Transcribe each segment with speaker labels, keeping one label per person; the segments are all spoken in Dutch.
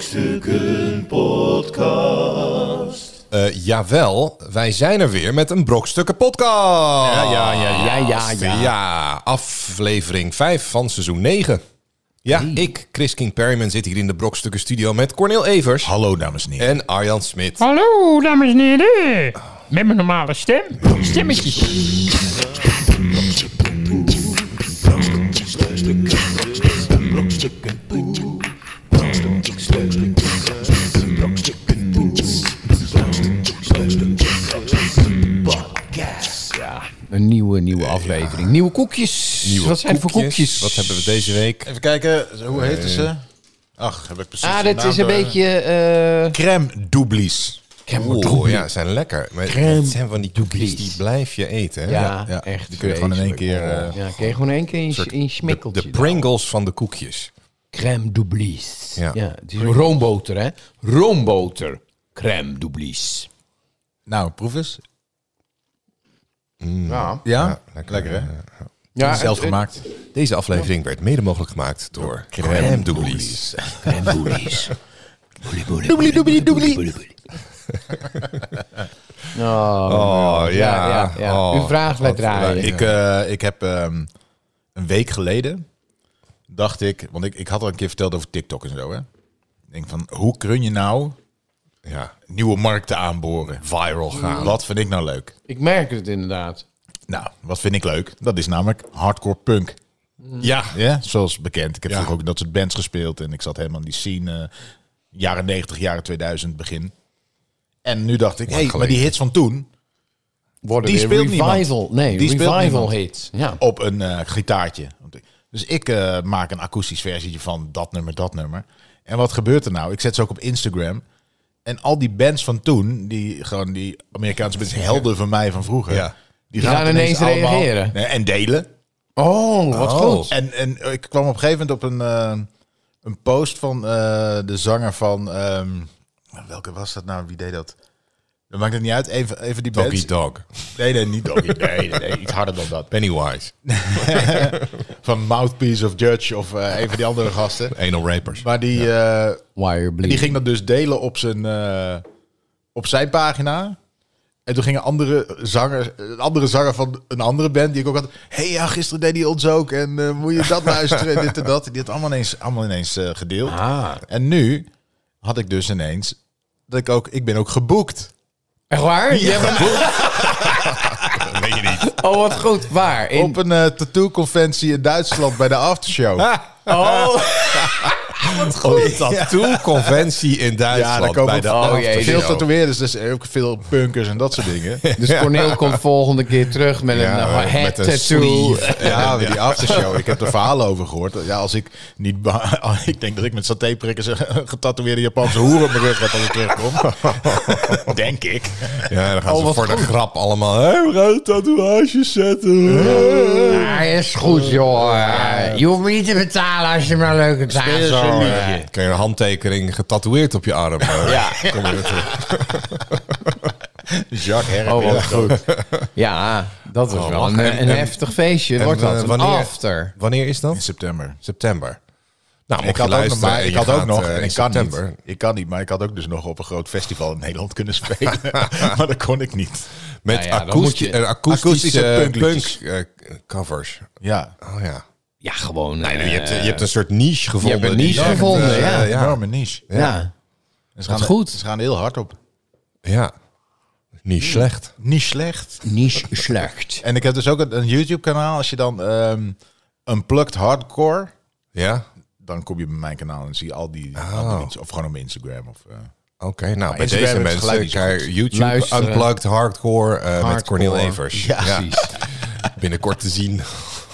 Speaker 1: Brokstukken Podcast.
Speaker 2: Eh, jawel, wij zijn er weer met een Brokstukken podcast. Ja, ja, ja, ja, ja. ja. aflevering 5 van seizoen 9. Ja, ik, Chris King Perryman, zit hier in de Brokstukken studio met Cornel Evers
Speaker 3: Hallo dames en heren.
Speaker 2: en Arjan Smit.
Speaker 4: Hallo, dames en heren. Met mijn normale stem. Stemmetjes.
Speaker 5: Een nieuwe, nieuwe aflevering. Nieuwe koekjes. wat zijn er voor koekjes?
Speaker 2: Wat hebben we deze week?
Speaker 3: Even kijken, hoe heette ze? Ach, heb ik precies
Speaker 5: Ah,
Speaker 3: de
Speaker 5: dit
Speaker 3: naam
Speaker 5: is een
Speaker 3: door-
Speaker 5: beetje... eh
Speaker 3: Crème doublies.
Speaker 2: Oeh, ja, zijn lekker. Maar het zijn van die koekjes die blijf je eten. hè?
Speaker 5: ja,
Speaker 3: ja.
Speaker 5: echt.
Speaker 3: Die kun je gewoon in één keer,
Speaker 5: vreselijk.
Speaker 3: eh,
Speaker 5: ja, kun je gewoon in één keer in,
Speaker 2: soort
Speaker 5: in
Speaker 2: De,
Speaker 5: smikkeltje.
Speaker 2: de Pringles van de koekjes.
Speaker 5: Crème doublies.
Speaker 2: Ja.
Speaker 5: Ja. het is een roomboter, hè? Roomboter. Crème doublies.
Speaker 3: Nou, proef eens.
Speaker 5: Ja.
Speaker 3: Ja?
Speaker 2: Ja,
Speaker 3: lekker,
Speaker 2: lekker, eh,
Speaker 3: hè?
Speaker 5: ja
Speaker 3: Zelf
Speaker 5: het-
Speaker 3: gemaakt.
Speaker 2: Deze aflevering werd mede mogelijk gemaakt door Crème Doublies.
Speaker 5: Crème doublies. Boelie, boelie,
Speaker 3: Doublie, doublie, doublie.
Speaker 5: boelie, boelie. Oh,
Speaker 2: Oh, ja.
Speaker 5: ja, ja, ja.
Speaker 2: Oh,
Speaker 5: U vraagt, wij
Speaker 2: wat-
Speaker 5: draaien.
Speaker 3: Ik, eh, ik heb ehm, een week geleden, dacht ik, want ik, ik had al een keer verteld over TikTok en zo, hè. Ik denk van, hoe kun je nou
Speaker 2: Ja,
Speaker 3: nieuwe markten aanboren?
Speaker 2: viral gaan.
Speaker 3: Wat vind ik nou leuk?
Speaker 5: ik merk het inderdaad.
Speaker 3: Nou, wat vind ik leuk? Dat is namelijk hardcore punk.
Speaker 2: Ja.
Speaker 3: Ja, zoals bekend. Ik heb
Speaker 2: Ja.
Speaker 3: vroeger ook in dat soort bands gespeeld. En ik zat helemaal in die scene. eh, jaren 90, jaren 2000 begin. En nu dacht ik, hé, hey, maar
Speaker 2: geleden.
Speaker 3: die hits van toen...
Speaker 5: Worden
Speaker 3: Die
Speaker 5: weer
Speaker 3: speelt niemand.
Speaker 5: revival. Nee,
Speaker 3: Die speelt
Speaker 5: revival
Speaker 3: niemand.
Speaker 5: hits. Ja.
Speaker 3: op een eh, gitaartje. Dus ik eh, maak een akoestisch versietje van dat nummer, dat nummer. En wat gebeurt er nou? Ik zet ze ook op Instagram. En al die bands van toen, die gewoon die Amerikaanse bands, helden van mij van vroeger.
Speaker 2: Ja.
Speaker 3: Die
Speaker 5: gaan
Speaker 3: het
Speaker 5: ineens
Speaker 3: allemaal-
Speaker 5: reageren.
Speaker 3: Nee, en delen.
Speaker 5: Oh, wat goed.
Speaker 3: En, en ik kwam op een gegeven moment op een, eh, een post van eh, de zanger van... ehm, welke was dat nou? Wie deed dat? Dat maakt het niet uit. Even, even die
Speaker 2: Doggy
Speaker 3: bands.
Speaker 2: Dog.
Speaker 3: Nee, nee, niet Doggy. Nee, nee, nee, iets harder dan dat.
Speaker 2: Pennywise.
Speaker 3: Van Mouthpiece of Judge of eh een van die andere gasten.
Speaker 2: Anal rapers.
Speaker 3: Maar die, eh,
Speaker 5: Wire bleed.
Speaker 3: die ging dat dus delen op zijn, eh, op zijn pagina. En toen gingen andere zanger, een andere zanger van een andere band die ik ook had. hey, ja, gisteren deed hij ons ook. En eh, moet je dat luisteren en dit en dat. Die had allemaal ineens, allemaal ineens eh, gedeeld.
Speaker 5: Ah.
Speaker 3: En nu had ik dus ineens dat ik ook, ik ben ook geboekt.
Speaker 5: Echt waar? Je hebt een-
Speaker 2: Ah, Weet je niet.
Speaker 5: Oh, wat goed. Waar? In...
Speaker 3: Op een eh, tattoo-conventie in Duitsland bij de aftershow.
Speaker 5: Oh,
Speaker 2: Tattoo-conventie in Duitsland.
Speaker 3: Ja, daar komen
Speaker 2: bij de
Speaker 3: ook
Speaker 5: Oh,
Speaker 2: after
Speaker 5: jee,
Speaker 3: veel
Speaker 2: show.
Speaker 3: tatoeëerders, dus ook veel punkers en dat soort dingen.
Speaker 5: dus Corneel komt volgende keer terug met een
Speaker 3: Ja,
Speaker 5: eh, head
Speaker 3: met een
Speaker 5: tattoo.
Speaker 3: sleeve. Ja, met die aftershow. Ik heb er verhalen over gehoord. Ja, als ik niet... ba- Ik denk dat ik met satéprikkers een getatoeëerde Japanse hoer op mijn rug heb als ik terugkom. denk ik.
Speaker 2: Ja, dan gaan
Speaker 5: Oh,
Speaker 2: ze
Speaker 5: wat
Speaker 2: voor de
Speaker 5: goed.
Speaker 2: grap allemaal... Hé, we gaan tatoeages zetten.
Speaker 5: Ja, is goed, joh. Je hoeft me niet te betalen als je maar een leuke taart
Speaker 3: eens een
Speaker 5: zo,
Speaker 3: liedje.
Speaker 5: eh.
Speaker 2: Krijg je een handtekening getatoeëerd op je arm. Ja. Kom weer terug.
Speaker 3: Jacques Herp.
Speaker 5: Oh, wat
Speaker 3: ja.
Speaker 5: goed. Ja, dat was wel een, een heftig feestje. Wordt dat
Speaker 2: eh,
Speaker 5: een after?
Speaker 2: Wanneer is
Speaker 3: In
Speaker 2: dat?
Speaker 3: september.
Speaker 2: September. Nou, mocht
Speaker 3: Ik
Speaker 2: je
Speaker 3: had ook nog,
Speaker 2: luisteren
Speaker 3: maar
Speaker 2: en
Speaker 3: ik
Speaker 2: je
Speaker 3: had ook
Speaker 2: gaat,
Speaker 3: nog,
Speaker 2: eh,
Speaker 3: en
Speaker 2: in
Speaker 3: ik kan niet, Nou
Speaker 2: september.
Speaker 3: ik kan niet, maar ik had ook dus nog op een groot festival in Nederland kunnen spelen. maar dat kon ik niet.
Speaker 2: Met
Speaker 5: Nou ja, dan
Speaker 2: akoesti-
Speaker 5: moet je-
Speaker 2: eh, akoestische,
Speaker 3: akoestische punkliedjes.
Speaker 2: punk eh, covers.
Speaker 3: Ja,
Speaker 2: Oh ja.
Speaker 5: Ja, gewoon.
Speaker 2: Nee,
Speaker 5: eh,
Speaker 2: je, hebt, je hebt een soort niche gevonden.
Speaker 5: een
Speaker 2: die
Speaker 5: niche
Speaker 2: echt,
Speaker 5: gevonden,
Speaker 2: eh,
Speaker 5: ja.
Speaker 3: enorme niche.
Speaker 5: ja.
Speaker 3: En Ze gaan,
Speaker 5: goed.
Speaker 3: Ze gaan er heel hard op.
Speaker 2: Ja. Niet
Speaker 3: Hmm.
Speaker 2: slecht.
Speaker 3: Niet slecht.
Speaker 5: niet slecht.
Speaker 3: En ik heb dus ook een, een YouTube-kanaal. Als je dan ehm Unplugged Hardcore,
Speaker 2: Ja?
Speaker 3: dan kom je bij mijn kanaal en zie je al die,
Speaker 2: Ah.
Speaker 3: al die mensen. Of gewoon op mijn Instagram. Of, eh.
Speaker 2: Oké, nou bij
Speaker 3: Instagram
Speaker 2: deze
Speaker 3: heeft
Speaker 2: mensen,
Speaker 3: gelijk niet zo
Speaker 2: kijk, YouTube
Speaker 5: Luisteren.
Speaker 2: Unplugged Hardcore, eh, met Cornel Evers.
Speaker 5: Ja, precies.
Speaker 2: Binnenkort te zien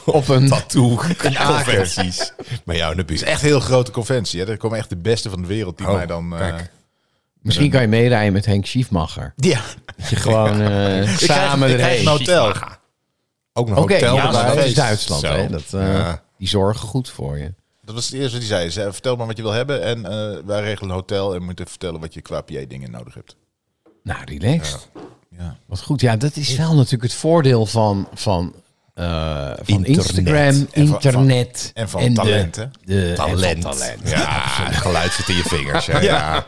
Speaker 5: Op een...
Speaker 2: toe conventies bij jou in de buurt.
Speaker 3: Echt een heel grote conventie. Hè? Er komen echt de beste van de wereld die
Speaker 2: Oh,
Speaker 3: mij dan... eh,
Speaker 2: kijk.
Speaker 5: Misschien kan je meerijden met Henk Schiefmacher.
Speaker 3: ja,
Speaker 5: Dat je gewoon eh,
Speaker 3: ik krijg,
Speaker 5: samen
Speaker 3: ik krijg nou
Speaker 5: erheen.
Speaker 3: een hotel.
Speaker 2: Ook nog
Speaker 5: Oké,
Speaker 2: hotel
Speaker 5: ja,
Speaker 2: erbij.
Speaker 5: maar dat is
Speaker 3: feest.
Speaker 5: Duitsland.
Speaker 2: Zo.
Speaker 5: Hè? Dat, eh,
Speaker 2: Ja.
Speaker 5: Die zorgen goed voor je.
Speaker 3: Dat was het eerste wat hij zei. Hij zei, vertel maar wat je wil hebben en eh, wij regelen een hotel en moeten vertellen wat je qua PA-dingen nodig hebt.
Speaker 5: Nou, relaxed.
Speaker 3: Ja.
Speaker 5: Wat goed. Ja, dat is wel natuurlijk het voordeel van, van eh, van
Speaker 2: Internet.
Speaker 5: Instagram,
Speaker 3: En van-
Speaker 5: internet.
Speaker 3: en van
Speaker 5: de-
Speaker 3: talent, hè?
Speaker 5: de- en van
Speaker 2: Talent.
Speaker 5: talent.
Speaker 2: Ja, het geluid zit in je vingers. Ja. ja.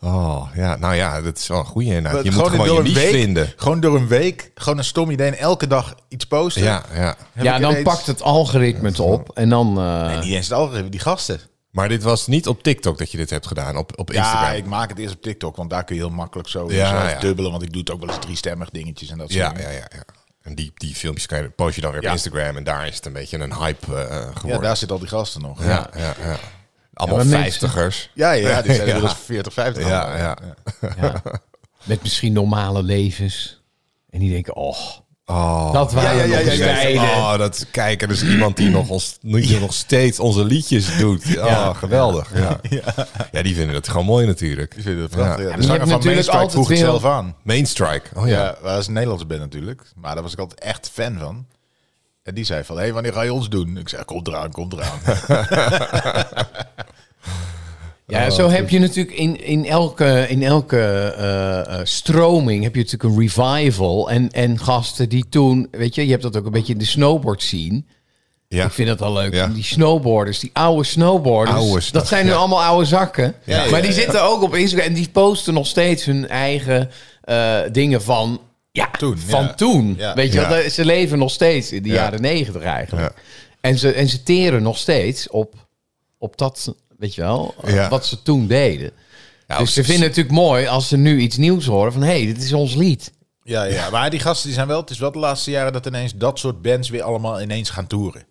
Speaker 2: Oh, ja, nou ja, dat is wel een goeie.
Speaker 3: Eh,
Speaker 2: inderdaad. Je moet
Speaker 3: in-
Speaker 2: gewoon je niche
Speaker 3: week,
Speaker 2: vinden.
Speaker 3: gewoon door een week, gewoon een stom idee en elke dag iets posten.
Speaker 2: Ja, ja.
Speaker 3: Heb
Speaker 5: Ja,
Speaker 3: ik
Speaker 5: dan
Speaker 3: ineens-
Speaker 5: pakt het algoritme het op en dan... eh,
Speaker 3: Nee, niet eens het algoritme, die gasten.
Speaker 2: Maar dit was niet op TikTok dat je dit hebt gedaan, op, op
Speaker 3: Ja,
Speaker 2: Instagram.
Speaker 3: ik maak het eerst op TikTok, want daar kun je heel makkelijk zo
Speaker 2: Ja,
Speaker 3: zelf
Speaker 2: ja.
Speaker 3: dubbelen. Want ik doe het ook wel eens driestemmig dingetjes en dat soort
Speaker 2: ja,
Speaker 3: dingen.
Speaker 2: ja, ja, ja. En die, die filmpjes kan je, post je dan weer
Speaker 3: Ja.
Speaker 2: op Instagram. En daar is het een beetje een hype eh, geworden.
Speaker 3: Ja, daar zitten al die gasten nog. Ja,
Speaker 2: ja, ja, ja. Allemaal
Speaker 5: Ja, maar mensen-
Speaker 2: vijftigers.
Speaker 3: ja, ja die zijn
Speaker 2: Ja.
Speaker 3: inmiddels 40, 50.
Speaker 2: Ja, ja.
Speaker 5: Ja. Met misschien normale levens. En die denken, oh,
Speaker 2: Oh.
Speaker 5: dat waren
Speaker 3: ja, ja,
Speaker 5: nog
Speaker 3: ja,
Speaker 5: eens
Speaker 3: ja, ja.
Speaker 5: tijden.
Speaker 2: Oh, dat kijk, er is iemand die nog, ons, die nog steeds onze liedjes doet. Oh, geweldig. Ja. ja, die vinden het gewoon mooi natuurlijk.
Speaker 3: Die vinden het prachtig.
Speaker 2: Ja.
Speaker 3: Ja.
Speaker 5: maar
Speaker 3: De
Speaker 5: je
Speaker 3: zanger
Speaker 5: hebt
Speaker 3: van
Speaker 5: natuurlijk
Speaker 3: Mainstrike
Speaker 5: altijd
Speaker 3: vroeg het
Speaker 5: weer-
Speaker 3: zelf aan.
Speaker 2: Mainstrike. Oh ja.
Speaker 3: Ja, maar dat is een Nederlandse band natuurlijk. Maar daar was ik altijd echt fan van. En die zei van, hé, hey, wanneer ga je ons doen? Ik zei, kom eraan, kom eraan. Oh,
Speaker 5: Ja, zo heb je natuurlijk in, in elke, in elke eh, eh, stroming heb je natuurlijk een revival. En, en gasten die toen, weet je, je hebt dat ook een beetje in de snowboard scene.
Speaker 2: ja.
Speaker 5: Ik vind dat wel leuk.
Speaker 2: Ja.
Speaker 5: Die snowboarders, die oude snowboarders.
Speaker 2: Oude snak,
Speaker 5: dat zijn nu
Speaker 2: ja.
Speaker 5: allemaal oude zakken.
Speaker 3: Ja, ja,
Speaker 5: maar die
Speaker 3: ja, ja.
Speaker 5: zitten ook op Instagram en die posten nog steeds hun eigen eh, dingen van. Ja,
Speaker 3: Toen,
Speaker 5: van
Speaker 3: ja.
Speaker 5: toen.
Speaker 3: Ja.
Speaker 5: Weet je,
Speaker 2: Ja.
Speaker 5: wel, dat- ze leven nog steeds in de jaren negentig eigenlijk. En, ze, en ze teren nog steeds op, op dat, weet je wel, eh,
Speaker 2: Ja.
Speaker 5: wat ze toen deden.
Speaker 2: Ja,
Speaker 5: dus
Speaker 2: of-
Speaker 5: ze vinden het natuurlijk mooi als ze nu iets nieuws horen van... hé, hey, dit is ons lied.
Speaker 3: ja, ja, maar die gasten die zijn wel... Het is wel de laatste jaren dat ineens dat soort bands weer allemaal ineens gaan toeren.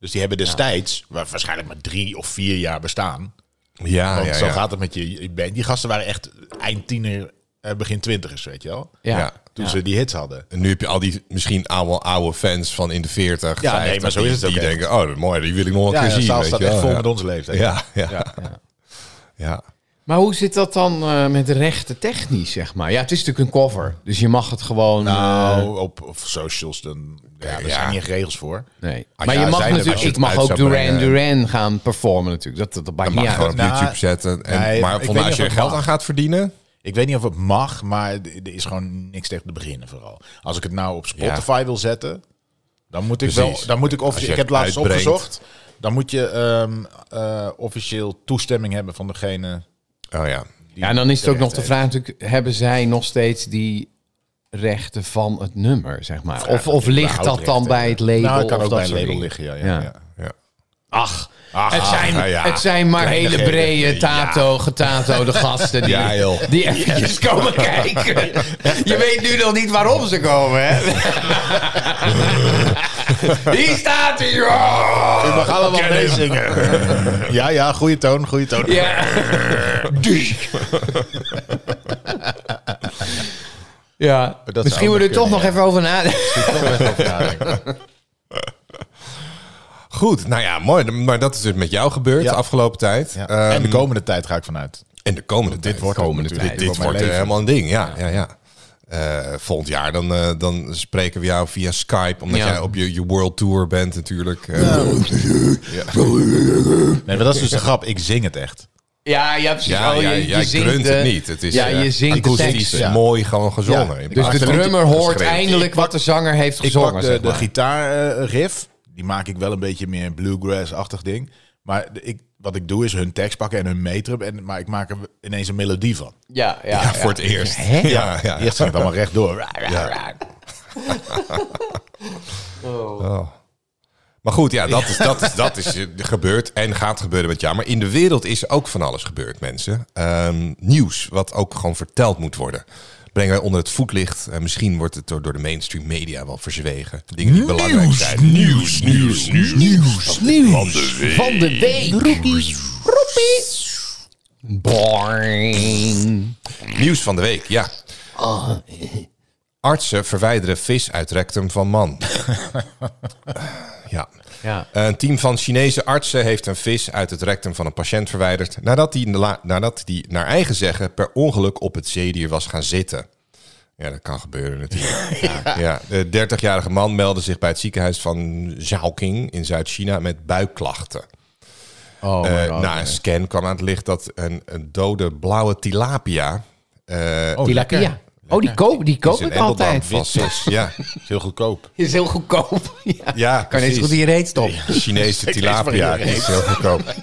Speaker 3: Dus die hebben destijds, waar waarschijnlijk maar drie of vier jaar bestaan.
Speaker 2: Ja,
Speaker 3: Want
Speaker 2: ja,
Speaker 3: zo
Speaker 2: ja.
Speaker 3: gaat het met je, je band. Die gasten waren echt eind tiener, eh, begin twintigers, weet je wel.
Speaker 5: Ja.
Speaker 2: Ja.
Speaker 3: Toen ze die hits hadden.
Speaker 2: En nu heb je al die misschien oude, oude fans van in de 40,
Speaker 3: Ja, nee,
Speaker 2: 50,
Speaker 3: maar zo
Speaker 2: die,
Speaker 3: is het ook
Speaker 2: Die
Speaker 3: echt.
Speaker 2: denken, oh, dat is mooi, die wil ik nog wel een
Speaker 3: Ja,
Speaker 2: keer
Speaker 3: de
Speaker 2: zien.
Speaker 3: zaal
Speaker 2: weet
Speaker 3: staat
Speaker 2: je wel.
Speaker 3: echt vol
Speaker 2: ja.
Speaker 3: met onze leeftijd.
Speaker 2: Ja, ja. ja.
Speaker 5: Maar hoe zit dat dan eh, met rechten technisch, zeg maar? Ja, het is natuurlijk een cover. Dus je mag het gewoon... eh,
Speaker 3: Nou, op, op socials, dan, ja, daar
Speaker 2: ja.
Speaker 3: zijn niet echt regels voor.
Speaker 5: Nee.
Speaker 2: Als
Speaker 5: maar
Speaker 2: je
Speaker 5: je
Speaker 2: aan
Speaker 5: mag
Speaker 2: zijn- als
Speaker 5: natuurlijk,
Speaker 2: je het
Speaker 5: ik mag
Speaker 2: uit
Speaker 5: ook
Speaker 2: zou
Speaker 5: Duran
Speaker 2: brengen-
Speaker 5: Duran gaan performen natuurlijk. Dat, dat maakt
Speaker 2: Dan mag
Speaker 5: niet
Speaker 2: je gewoon
Speaker 5: uit.
Speaker 2: op
Speaker 3: Nou,
Speaker 2: YouTube zetten. En,
Speaker 3: nee, ik
Speaker 2: maar
Speaker 3: weet niet
Speaker 2: volgens als
Speaker 3: of
Speaker 2: je er
Speaker 3: het
Speaker 2: geld
Speaker 3: mag.
Speaker 2: aan gaat verdienen...
Speaker 3: Ik weet niet of het mag, maar d- er is gewoon niks tegen te beginnen vooral. Als ik het nou op Spotify wil zetten, dan moet ik
Speaker 2: Precies.
Speaker 3: wel, dan moet ik
Speaker 2: Als
Speaker 3: of
Speaker 2: je
Speaker 3: ik heb
Speaker 2: het
Speaker 3: laatst
Speaker 2: uitbrengt.
Speaker 3: opgezocht, dan moet je ehm, eh, officieel toestemming hebben van degene.
Speaker 2: Oh ja.
Speaker 3: Die
Speaker 5: Ja, en dan is het ook nog de
Speaker 3: heeft.
Speaker 5: vraag natuurlijk, hebben zij nog steeds die rechten van het nummer, zeg maar? Of, of ligt dat dan bij het label?
Speaker 3: Nou, het kan
Speaker 5: of
Speaker 3: ook
Speaker 5: dat
Speaker 3: bij een
Speaker 5: soort
Speaker 3: label
Speaker 5: dingen?
Speaker 3: liggen, ja. ja,
Speaker 5: Ja.
Speaker 3: ja.
Speaker 2: ja.
Speaker 5: Ach,
Speaker 3: Ach,
Speaker 5: het, zijn,
Speaker 2: nou ja.
Speaker 5: het zijn maar hele
Speaker 3: gekke-
Speaker 5: brede,
Speaker 3: ja.
Speaker 5: tato, getatoede gasten die,
Speaker 2: Ja, joh.
Speaker 5: die eventjes komen kijken. Je weet nu nog niet waarom ze komen, hè? Hier staat hij, joh!
Speaker 3: Je mag allemaal meezingen. ja, ja, goede toon, goede toon.
Speaker 5: Ja. ja.
Speaker 3: zou
Speaker 5: Misschien moeten we er
Speaker 3: ook
Speaker 5: toch
Speaker 3: nog
Speaker 5: nog even over nadenken.
Speaker 2: Goed, nou ja, mooi. Maar dat is dus met jou gebeurd
Speaker 3: Ja.
Speaker 2: de afgelopen tijd.
Speaker 3: Ja.
Speaker 2: Ehm,
Speaker 3: en de komende tijd ga ik vanuit.
Speaker 2: en de komende tijd.
Speaker 3: wordt het
Speaker 2: komende
Speaker 3: natuurlijk.
Speaker 2: tijd.
Speaker 3: Dit
Speaker 2: Dit
Speaker 3: wordt
Speaker 2: wordt
Speaker 3: mijn
Speaker 2: eh,
Speaker 3: leven.
Speaker 2: helemaal een ding, ja. ja. ja, Eh, volgend jaar dan, eh, dan spreken we jou via Skype. Omdat
Speaker 5: Ja.
Speaker 2: jij op je, je World Tour bent natuurlijk. Eh,
Speaker 3: Nou, Nee, maar dat is dus de grap. Ik zing het echt.
Speaker 5: Ja, ja, precies.
Speaker 2: Ja,
Speaker 5: Oh,
Speaker 2: ja, jij grunt het niet. Het is
Speaker 5: ja,
Speaker 2: eh,
Speaker 5: je zingt de
Speaker 2: akoestisch
Speaker 5: tekst.
Speaker 3: ja.
Speaker 2: mooi gewoon gezongen.
Speaker 3: Ja.
Speaker 2: In
Speaker 5: Dus
Speaker 2: plaats
Speaker 5: de
Speaker 2: van-
Speaker 5: drummer hoort
Speaker 2: geschreven.
Speaker 5: eindelijk wat de zanger heeft
Speaker 3: Ik
Speaker 5: gezongen,
Speaker 3: pak de,
Speaker 5: zeg
Speaker 3: de
Speaker 5: maar.
Speaker 3: gitaarriff. Die maak ik wel een beetje meer bluegrass-achtig ding. Maar de- ik, wat ik doe is hun tekst pakken en hun metrum. En, maar ik maak er ineens een melodie van.
Speaker 5: ja, ja,
Speaker 2: Ja,
Speaker 5: ja.
Speaker 2: voor het eerst.
Speaker 5: Hè?
Speaker 2: Ja, ja.
Speaker 3: Eerst ging het allemaal rechtdoor.
Speaker 2: Ja. Oh. Maar goed, ja, dat is, dat, is, dat is eh, gebeurd en gaat gebeuren met jou. Maar in de wereld is ook van alles gebeurd, mensen. Ehm, nieuws, wat ook gewoon verteld moet worden. Brengen wij onder het voetlicht. En misschien wordt het door, door de mainstream media wel verzwegen. Dingen die belangrijk zijn. Nieuws, nieuws, nieuws. nieuws.
Speaker 5: Van de week. Roepie. Boing.
Speaker 2: Nieuws van de week, ja. Artsen verwijderen vis uit rectum van man. ja.
Speaker 5: Ja.
Speaker 2: Een team van Chinese artsen heeft een vis uit het rectum van een patiënt verwijderd... nadat die, la- nadat die naar eigen zeggen per ongeluk op het zeedier was gaan zitten. Ja, dat kan gebeuren natuurlijk. ja. De 30-jarige man meldde zich bij het ziekenhuis van Zhaoqing in Zuid-China met buikklachten.
Speaker 5: Oh my
Speaker 2: Eh,
Speaker 5: god.
Speaker 2: na een scan kwam aan het licht dat een, een dode blauwe tilapia... eh,
Speaker 5: Tilapia. Oh, die koop, die koop
Speaker 2: Is in
Speaker 5: ik altijd.
Speaker 2: Engeland vast, dus, ja.
Speaker 3: Is heel goedkoop.
Speaker 5: Is heel goedkoop. ja.
Speaker 2: ja
Speaker 5: Kan eens goed in je reet stoppen.
Speaker 2: Chinese tilapia
Speaker 3: maar in de
Speaker 2: is heel goedkoop.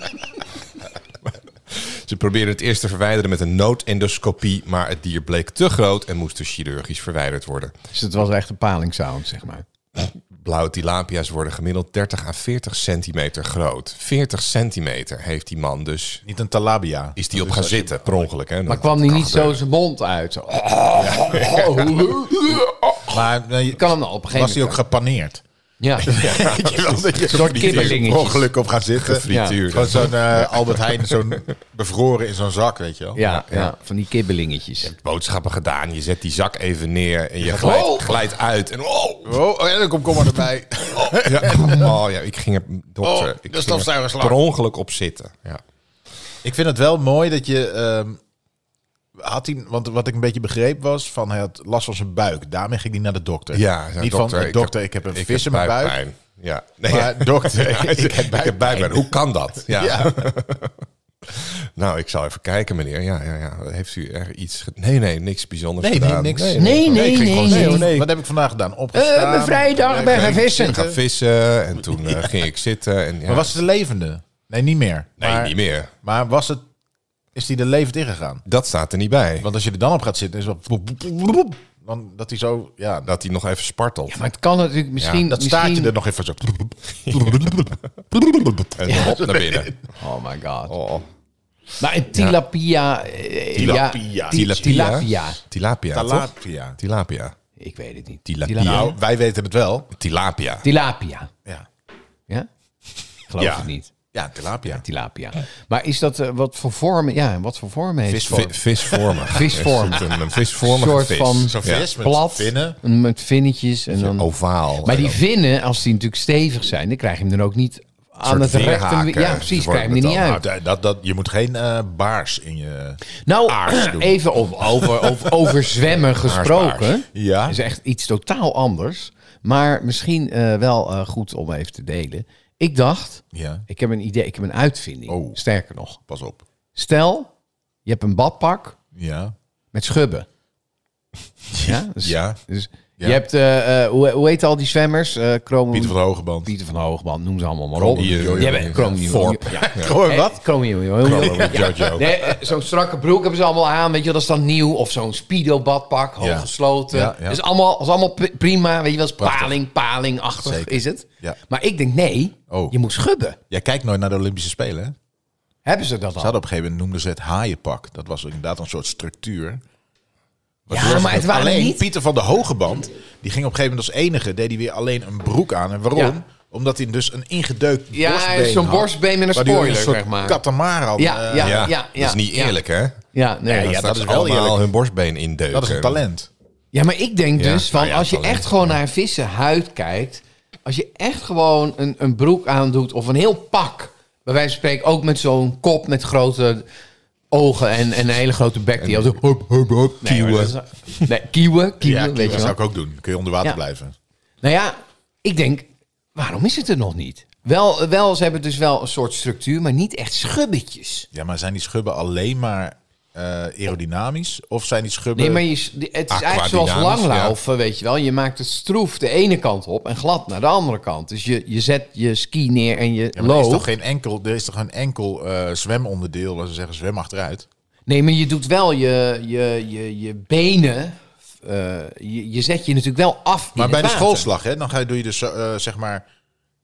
Speaker 2: Ze probeerden het eerst te verwijderen met een noodendoscopie, maar het dier bleek te groot en moest dus chirurgisch verwijderd worden.
Speaker 5: Dus het was echt een palingsound, zeg maar.
Speaker 2: Blauwe tilapia's worden gemiddeld 30 à 40 centimeter groot. 40 centimeter heeft die man dus.
Speaker 3: Niet een talabia.
Speaker 2: Is die op gaan zitten, per ongeluk. Hè?
Speaker 5: Maar kwam die niet zo zijn mond uit? Zo.
Speaker 3: Maar nee,
Speaker 5: Kan hem nou op een
Speaker 3: was
Speaker 5: gegeven
Speaker 3: hij ook
Speaker 5: moment.
Speaker 3: gepaneerd?
Speaker 5: Ja.
Speaker 3: Een
Speaker 5: soort kibbelingetjes.
Speaker 3: ongeluk op gaan zitten.
Speaker 2: Frituur.
Speaker 3: Gewoon zo'n eh, Albert Heijn, zo'n bevroren in zo'n zak, weet je wel.
Speaker 5: Ja, ja, van die kibbelingetjes.
Speaker 2: dus Boodschappen gedaan, je zet die zak even neer en je glijdt,
Speaker 5: Oh.
Speaker 2: glijdt uit. En oh,
Speaker 3: Oh, oh ja, dan komt komkommer erbij.
Speaker 2: Ja, oh, ja, ik ging er, dokter,
Speaker 3: Oh,
Speaker 2: ik
Speaker 3: de
Speaker 2: ging er
Speaker 3: stofzuigerslag.
Speaker 2: per ongeluk op zitten. Ja.
Speaker 3: Ik vind het wel mooi dat je... ehm, had hij, want wat ik een beetje begreep was, van hij had last van zijn buik. Daarmee ging hij naar de dokter.
Speaker 2: Ja, ja,
Speaker 3: Niet
Speaker 2: dokter,
Speaker 3: van, eh,
Speaker 2: ik
Speaker 3: dokter,
Speaker 2: heb-
Speaker 3: ik heb, een
Speaker 2: ik
Speaker 3: vis in mijn buik.
Speaker 2: buikpijn. Ja. Nee, ja.
Speaker 3: Maar dokter, ik
Speaker 2: Ja,
Speaker 3: heb
Speaker 2: ik heb
Speaker 3: buikpijn.
Speaker 2: buikpijn. Hoe kan dat? Ja.
Speaker 3: Ja.
Speaker 2: Nou, ik zal even kijken, meneer. Ja, ja, ja. Heeft u er iets... ge- Nee, nee, niks bijzonders
Speaker 3: Nee,
Speaker 2: gedaan.
Speaker 3: nee, niks.
Speaker 5: Nee, nee,
Speaker 2: ik ging
Speaker 5: nee,
Speaker 2: gewoon
Speaker 5: nee.
Speaker 2: zitten.
Speaker 3: Nee, Wat heb ik vandaag gedaan?
Speaker 5: Eh,
Speaker 3: Opgestaan.
Speaker 5: mijn vrije dag ben gaan vissen.
Speaker 2: Ik ga vissen en toen eh, ging ik zitten. En, ja.
Speaker 3: Maar was het de levende? Nee, niet meer.
Speaker 2: nee,
Speaker 3: maar,
Speaker 2: niet meer.
Speaker 3: Maar was het, is hij er levend ingegaan?
Speaker 2: Dat staat er niet bij.
Speaker 3: Want als je er dan op gaat zitten, is het wel... Dan dat hij zo... Ja, dat,
Speaker 2: Dat hij nog even spartelt.
Speaker 5: Maar het kan natuurlijk misschien...
Speaker 2: Ja,
Speaker 3: dat staartje
Speaker 5: misschien...
Speaker 3: er nog even zo...
Speaker 2: En hop naar binnen.
Speaker 5: Oh my god.
Speaker 2: Oh.
Speaker 5: Maar een tilapia... eh,
Speaker 3: Tilapia.
Speaker 5: Ja, ti- tilapia.
Speaker 2: Tilapia, toch?
Speaker 3: Talapia.
Speaker 2: Tilapia.
Speaker 5: Ik weet het niet.
Speaker 2: Tilapia.
Speaker 5: Tilapia.
Speaker 3: Nou, wij weten het wel.
Speaker 2: Tilapia.
Speaker 5: Tilapia.
Speaker 3: Ja,
Speaker 5: Ja? Geloof
Speaker 2: Ja.
Speaker 5: het niet.
Speaker 3: ja tilapia.
Speaker 5: Tilapia. Maar is dat eh, wat voor vorm? Ja, wat voor vorm heeft het?
Speaker 2: Vi- Visvormig.
Speaker 5: Visvorm.
Speaker 2: Is het Een, een visvormige
Speaker 5: Soort
Speaker 2: vis.
Speaker 5: van-
Speaker 3: Zo'n
Speaker 2: Ja.
Speaker 3: vis met
Speaker 5: Plat.
Speaker 3: vinnen.
Speaker 5: Een- Met vinnetjes en dan...
Speaker 2: Ovaal.
Speaker 5: Maar
Speaker 2: En
Speaker 5: die
Speaker 2: dan-
Speaker 5: vinnen, als die natuurlijk stevig zijn, dan krijg je hem dan ook niet aan het rechte...
Speaker 2: vingerhaken.
Speaker 5: Ja,
Speaker 3: Dus
Speaker 5: precies,
Speaker 2: Ze
Speaker 5: krijg je hem er
Speaker 2: worden
Speaker 5: niet
Speaker 2: dan
Speaker 5: uit.
Speaker 3: Nou, dat, dat, je moet geen eh, baars in je...
Speaker 5: Nou,
Speaker 3: Aars doen.
Speaker 5: even op, over, over, over zwemmen gesproken.
Speaker 3: Ja.
Speaker 5: Is echt iets totaal anders. Maar misschien eh, wel eh, goed om even te delen. Ik dacht,
Speaker 3: Ja,
Speaker 5: ik heb een idee, ik heb een uitvinding.
Speaker 3: Oh.
Speaker 5: Sterker nog.
Speaker 3: pas op.
Speaker 5: Stel, je hebt een badpak
Speaker 3: Ja.
Speaker 5: met schubben. Ja. Dus,
Speaker 3: Ja.
Speaker 5: dus
Speaker 3: Ja.
Speaker 5: Je hebt, eh, eh, hoe, hoe heet al die zwemmers? Eh Kroon-
Speaker 3: Pieter van de Hogeband.
Speaker 5: Pieter van Hoogband, noem ze allemaal maar op.
Speaker 2: Kroon- Jojo.
Speaker 5: Die hebben- Kroon-
Speaker 2: Forp.
Speaker 5: Ja.
Speaker 3: eh, Gewoon
Speaker 5: Eh, Kroon- Jojo.
Speaker 3: Jojo.
Speaker 5: Nee, eh, zo'n strakke broek hebben ze allemaal aan, weet je, wel, dat is dan nieuw. Of zo'n speedo badpak,
Speaker 3: Ja.
Speaker 5: hooggesloten.
Speaker 3: Ja, ja.
Speaker 5: Dat is allemaal, dat is allemaal pri- prima, weet je wel, is
Speaker 3: Prachtig.
Speaker 5: paling, palingachtig
Speaker 3: Zeker.
Speaker 5: is het.
Speaker 3: Ja.
Speaker 5: Maar ik denk, nee,
Speaker 3: Oh.
Speaker 5: je moet schubben.
Speaker 3: Jij kijkt nooit naar de Olympische Spelen, hè?
Speaker 5: Hebben ze dat
Speaker 3: Ze
Speaker 5: al?
Speaker 3: hadden op een gegeven moment noemden ze het haaienpak. Dat was inderdaad een soort structuur.
Speaker 5: Ja, maar het waren
Speaker 3: alleen
Speaker 5: niet-
Speaker 3: Pieter van de Hogeband, die ging op een gegeven moment als enige, deed hij weer alleen een broek aan. En waarom?
Speaker 5: Ja.
Speaker 3: Omdat hij dus een ingedeukt
Speaker 5: Ja,
Speaker 3: borstbeen
Speaker 5: zo'n
Speaker 3: had,
Speaker 5: borstbeen met een
Speaker 3: waar hij
Speaker 5: spoiler,
Speaker 3: een soort
Speaker 5: zeg maar.
Speaker 3: katamaran,
Speaker 5: Ja,
Speaker 3: eh,
Speaker 5: ja,
Speaker 2: Ja,
Speaker 5: ja, ja.
Speaker 2: dat is niet
Speaker 5: ja.
Speaker 2: eerlijk, hè?
Speaker 5: Ja, nee.
Speaker 3: Nee,
Speaker 5: dat-
Speaker 3: ja,
Speaker 5: ja,
Speaker 3: dat is wel
Speaker 2: allemaal
Speaker 3: eerlijk.
Speaker 2: hun borstbeen indeuken.
Speaker 3: dat is een talent.
Speaker 5: maar ik denk
Speaker 2: Ja,
Speaker 5: dus, van,
Speaker 2: nou ja,
Speaker 5: als je
Speaker 2: talent,
Speaker 5: echt gewoon naar vissenhuid kijkt, als je echt gewoon een, een broek aandoet of een heel pak, bij wijze van spreken ook met zo'n kop met grote ogen en, en een hele grote bek die al zo...
Speaker 2: Hup, hup, hup,
Speaker 5: Nee, maar
Speaker 2: kieuwen.
Speaker 5: dat is- Nee, kieuwen, kieuwen,
Speaker 3: Ja,
Speaker 5: weet je
Speaker 3: dat zou
Speaker 5: wel.
Speaker 3: ik ook doen. Kun je onder water
Speaker 5: Ja.
Speaker 3: blijven.
Speaker 5: Nou ja, ik denk, waarom is het er nog niet? Wel, wel, ze hebben dus wel een soort structuur, maar niet echt schubbetjes.
Speaker 3: Ja, maar zijn die schubben alleen maar eh, aerodynamisch? Of zijn die schubben...
Speaker 5: Nee, maar je, s- die- het is eigenlijk zoals
Speaker 2: Aquadynamisch,
Speaker 5: langlaufen, weet je wel. Je maakt het stroef de ene kant op en glad naar de andere kant. Dus je, je zet je ski neer en je
Speaker 3: Ja, maar er, is
Speaker 5: loopt.
Speaker 3: toch geen enkel, er is toch geen enkel eh, zwemonderdeel waar ze zeggen zwem achteruit?
Speaker 5: Nee, maar je doet wel je, je, je, je benen, eh, je, je zet je natuurlijk wel af in
Speaker 3: Maar
Speaker 5: het
Speaker 3: bij de
Speaker 5: water.
Speaker 3: schoolslag, hè, dan ga je, doe je dus eh, zeg maar,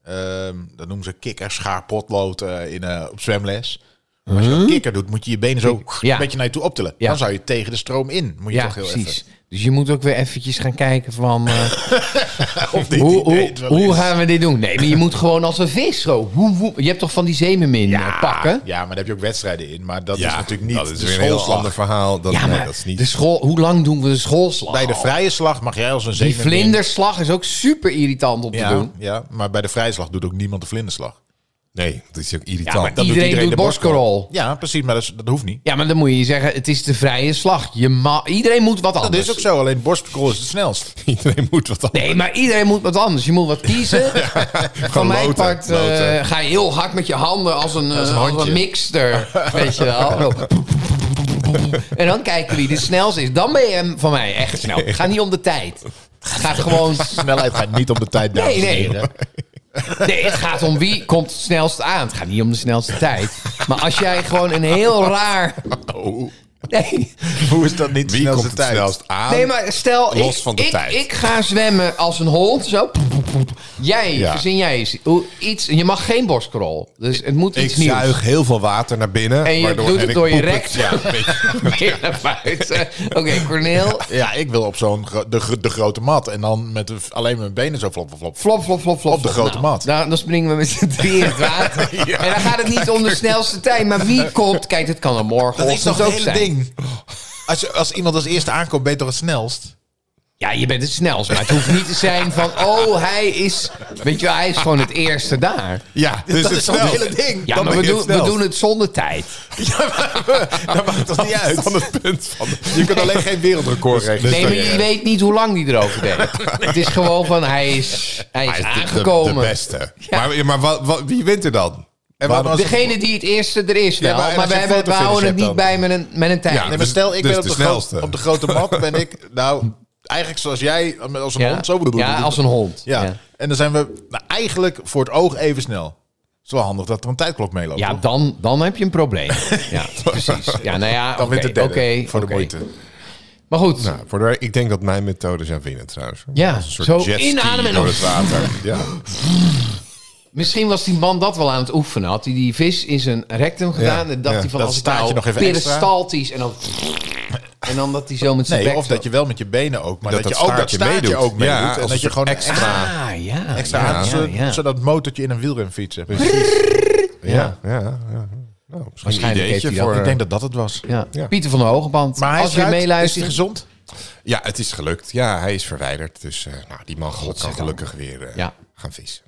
Speaker 3: ehm, dat noemen ze kikker, schaar, potlood eh, in, eh, op zwemles. Maar als je een kikker doet, moet je je benen zo
Speaker 5: Ja.
Speaker 3: een beetje naar je toe optillen.
Speaker 5: Ja.
Speaker 3: Dan zou je tegen de stroom in. Moet je
Speaker 5: Ja,
Speaker 3: toch heel
Speaker 5: precies.
Speaker 3: even.
Speaker 5: Dus je moet ook weer eventjes gaan kijken van... eh,
Speaker 3: Of dit
Speaker 5: hoe,
Speaker 3: idee
Speaker 5: hoe,
Speaker 3: het wel
Speaker 5: hoe
Speaker 3: is.
Speaker 5: gaan we dit doen? Nee, maar je moet gewoon als een vis zo. Woe, woe. Je hebt toch van die zeemermin eh, pakken?
Speaker 3: Ja, maar daar heb je ook wedstrijden in. Maar dat
Speaker 2: Ja,
Speaker 3: is natuurlijk niet
Speaker 2: dat is
Speaker 3: de
Speaker 2: weer een heel
Speaker 3: schoolslag.
Speaker 2: ander verhaal. Dat,
Speaker 5: Ja,
Speaker 2: nee,
Speaker 5: maar dus-
Speaker 2: dat is niet...
Speaker 5: de school, hoe lang doen we de schoolslag?
Speaker 3: Bij de
Speaker 5: al?
Speaker 3: vrije slag mag jij als een
Speaker 5: die
Speaker 3: zeemermin...
Speaker 5: vlinderslag is ook super irritant om te
Speaker 3: Ja,
Speaker 5: doen.
Speaker 3: ja, maar bij de vrije slag doet ook niemand de vlinderslag.
Speaker 2: nee, dat is ook irritant.
Speaker 5: Ja, maar
Speaker 2: Dat-
Speaker 5: iedereen,
Speaker 3: iedereen
Speaker 5: doet
Speaker 3: de
Speaker 5: borstkorrel.
Speaker 3: Ja, precies, maar dat, is- dat hoeft niet.
Speaker 5: Ja, maar dan moet je zeggen, het is de vrije slag. Je ma- iedereen moet wat
Speaker 3: Dat
Speaker 5: anders.
Speaker 3: is ook zo, alleen borstkorrel is het snelst.
Speaker 2: Iedereen moet wat anders.
Speaker 5: Nee, maar iedereen moet wat anders. Je moet wat kiezen. Van
Speaker 2: Gewoon
Speaker 5: mijn
Speaker 2: loten,
Speaker 5: part eh,
Speaker 2: loten.
Speaker 5: ga je heel hard met je handen als een, eh, als
Speaker 3: handje.
Speaker 5: een mixter. weet je wel. En dan kijken wie de snelste is. Dan ben je hem van mij echt snel. Het gaat niet om de tijd. Het gaat gewoon...
Speaker 3: Snelheid gaat niet op de tijd, dames
Speaker 5: Nee,
Speaker 3: en
Speaker 5: nee.
Speaker 3: heren.
Speaker 5: Nee, het gaat om wie komt het snelst aan. Het gaat niet om de snelste tijd. Maar als jij gewoon een heel raar...
Speaker 2: Oh.
Speaker 5: Nee,
Speaker 3: Hoe is dat niet de
Speaker 2: Wie komt
Speaker 3: snelste
Speaker 2: het
Speaker 3: tijd?
Speaker 2: snelst aan?
Speaker 5: nee maar stel,
Speaker 2: Los
Speaker 5: ik,
Speaker 2: van de
Speaker 5: ik,
Speaker 2: tijd.
Speaker 5: ik ga zwemmen als een hond. Zo. Jij,
Speaker 2: Ja.
Speaker 5: verzin jij eens hoe- iets. Je mag geen borstkrol. Dus het moet
Speaker 2: Ik
Speaker 5: iets nieuws.
Speaker 2: zuig heel veel water naar binnen.
Speaker 5: En je
Speaker 2: waardoor-
Speaker 5: doet het
Speaker 2: ik
Speaker 5: door je
Speaker 2: poep
Speaker 5: rek.
Speaker 2: het. Ja, weet je.
Speaker 5: Weer naar buiten. eh, Oké, Corneel.
Speaker 3: Ja, ik wil op zo'n gro- de, gro- de grote mat. En dan met de- alleen mijn benen zo flop, flop, flop.
Speaker 5: Flop, flop, flop, flop.
Speaker 3: Op de
Speaker 5: flop.
Speaker 3: grote mat.
Speaker 5: Nou, dan springen we met z'n drieën in het water. en dan gaat het niet om de snelste tijd. Maar wie komt... Kijk, dit kan er morgen
Speaker 3: Dat is toch
Speaker 5: ook
Speaker 3: het hele
Speaker 5: zijn.
Speaker 3: ding. Als, je- als iemand als eerste aankomt, ben je toch het snelst?
Speaker 5: Ja, je bent het snelst. Maar het hoeft niet te zijn van... Oh, hij is... Weet je wel, hij is gewoon het eerste daar.
Speaker 3: Ja,
Speaker 2: dus
Speaker 3: dat
Speaker 2: het
Speaker 3: is toch het
Speaker 2: snelst.
Speaker 3: hele ding.
Speaker 5: Ja,
Speaker 3: Dan
Speaker 5: maar
Speaker 3: ben
Speaker 5: we,
Speaker 3: je
Speaker 5: doen,
Speaker 3: het
Speaker 5: we
Speaker 3: snelst.
Speaker 5: doen het zonder tijd.
Speaker 3: Dat maakt toch niet uit?
Speaker 2: Van het punt van de-
Speaker 3: Je kunt alleen geen wereldrecord regelen.
Speaker 5: Nee, maar je weet niet hoe lang die erover deed. Het is gewoon van... Hij is, hij is
Speaker 2: Hij is de- de-
Speaker 5: aangekomen.
Speaker 2: De, beste. Maar, maar wat, wat- wie wint er dan?
Speaker 3: En waarom als het-
Speaker 5: Degene die het eerste er is wel.
Speaker 3: maar
Speaker 5: maar
Speaker 3: en als
Speaker 5: we,
Speaker 3: je
Speaker 5: hebben, we
Speaker 3: fotofinish
Speaker 5: houden het
Speaker 3: hebt
Speaker 5: niet
Speaker 3: dan?
Speaker 5: bij met een, met een tijd.
Speaker 2: Ja,
Speaker 3: Nee, maar
Speaker 2: Dus-
Speaker 3: stel, ik
Speaker 2: dus
Speaker 3: ben op
Speaker 2: de
Speaker 3: de, gro-
Speaker 2: snelste.
Speaker 3: op de grote mat, ben ik, nou, eigenlijk zoals jij, als een
Speaker 5: Ja.
Speaker 3: hond. Zo
Speaker 5: Ja, als een hond.
Speaker 3: Ja.
Speaker 5: Ja.
Speaker 3: en dan zijn we nou, eigenlijk voor het oog even snel. Het is wel handig dat er een tijdklok meeloopt.
Speaker 5: Ja,
Speaker 3: toch?
Speaker 5: dan, dan heb je een probleem. Ja, precies. Ja, nou ja,
Speaker 3: dan
Speaker 5: oké.
Speaker 3: wint de derde
Speaker 5: oké,
Speaker 3: voor
Speaker 5: oké.
Speaker 3: de moeite.
Speaker 5: Maar goed,
Speaker 2: Nou, voor de, ik denk dat mijn methodes zijn winnen trouwens.
Speaker 5: Ja,
Speaker 2: Als een soort
Speaker 5: zo
Speaker 2: jetski
Speaker 5: inademen en
Speaker 2: door
Speaker 5: op.
Speaker 2: het water. Ja.
Speaker 5: misschien was die man dat wel aan het oefenen. Had hij die vis in zijn rectum gedaan en dacht
Speaker 2: ja.
Speaker 5: hij van
Speaker 3: Dat
Speaker 5: als ik
Speaker 3: staartje
Speaker 5: nou
Speaker 3: nog even extra.
Speaker 5: peristaltisch en dan... En dan dat hij zo met zijn
Speaker 3: Nee,
Speaker 5: bek
Speaker 3: of
Speaker 5: zo-
Speaker 3: dat je wel met je benen ook, maar
Speaker 2: Dat
Speaker 3: dat,
Speaker 2: dat
Speaker 3: je ook dat
Speaker 2: staartje
Speaker 3: staartje
Speaker 2: meedoet.
Speaker 3: ook meedoet.
Speaker 2: Ja, als
Speaker 3: en
Speaker 2: een
Speaker 3: dat je gewoon
Speaker 2: soort
Speaker 3: extra,
Speaker 2: extra-
Speaker 5: Ah, ja.
Speaker 3: extra
Speaker 5: ja,
Speaker 3: aan-
Speaker 5: ja,
Speaker 3: zo-
Speaker 5: ja.
Speaker 3: zodat het motortje in een wielrenfiets hebt.
Speaker 2: Ja, ja, ja. Nou, misschien een
Speaker 5: Waarschijnlijk heeft
Speaker 2: ideetje
Speaker 5: hij dat.
Speaker 2: voor...
Speaker 3: Ik denk dat dat het was.
Speaker 5: Ja.
Speaker 2: Ja.
Speaker 5: Pieter van de Hogeband.
Speaker 3: Maar hij
Speaker 5: als
Speaker 3: is
Speaker 5: je
Speaker 3: eruit. is
Speaker 5: meeluistert...
Speaker 3: hij gezond?
Speaker 2: Ja, het is gelukt. Ja, hij is verwijderd. Dus eh, nou, die man kan gelukkig weer eh,
Speaker 5: Ja.
Speaker 2: gaan vissen.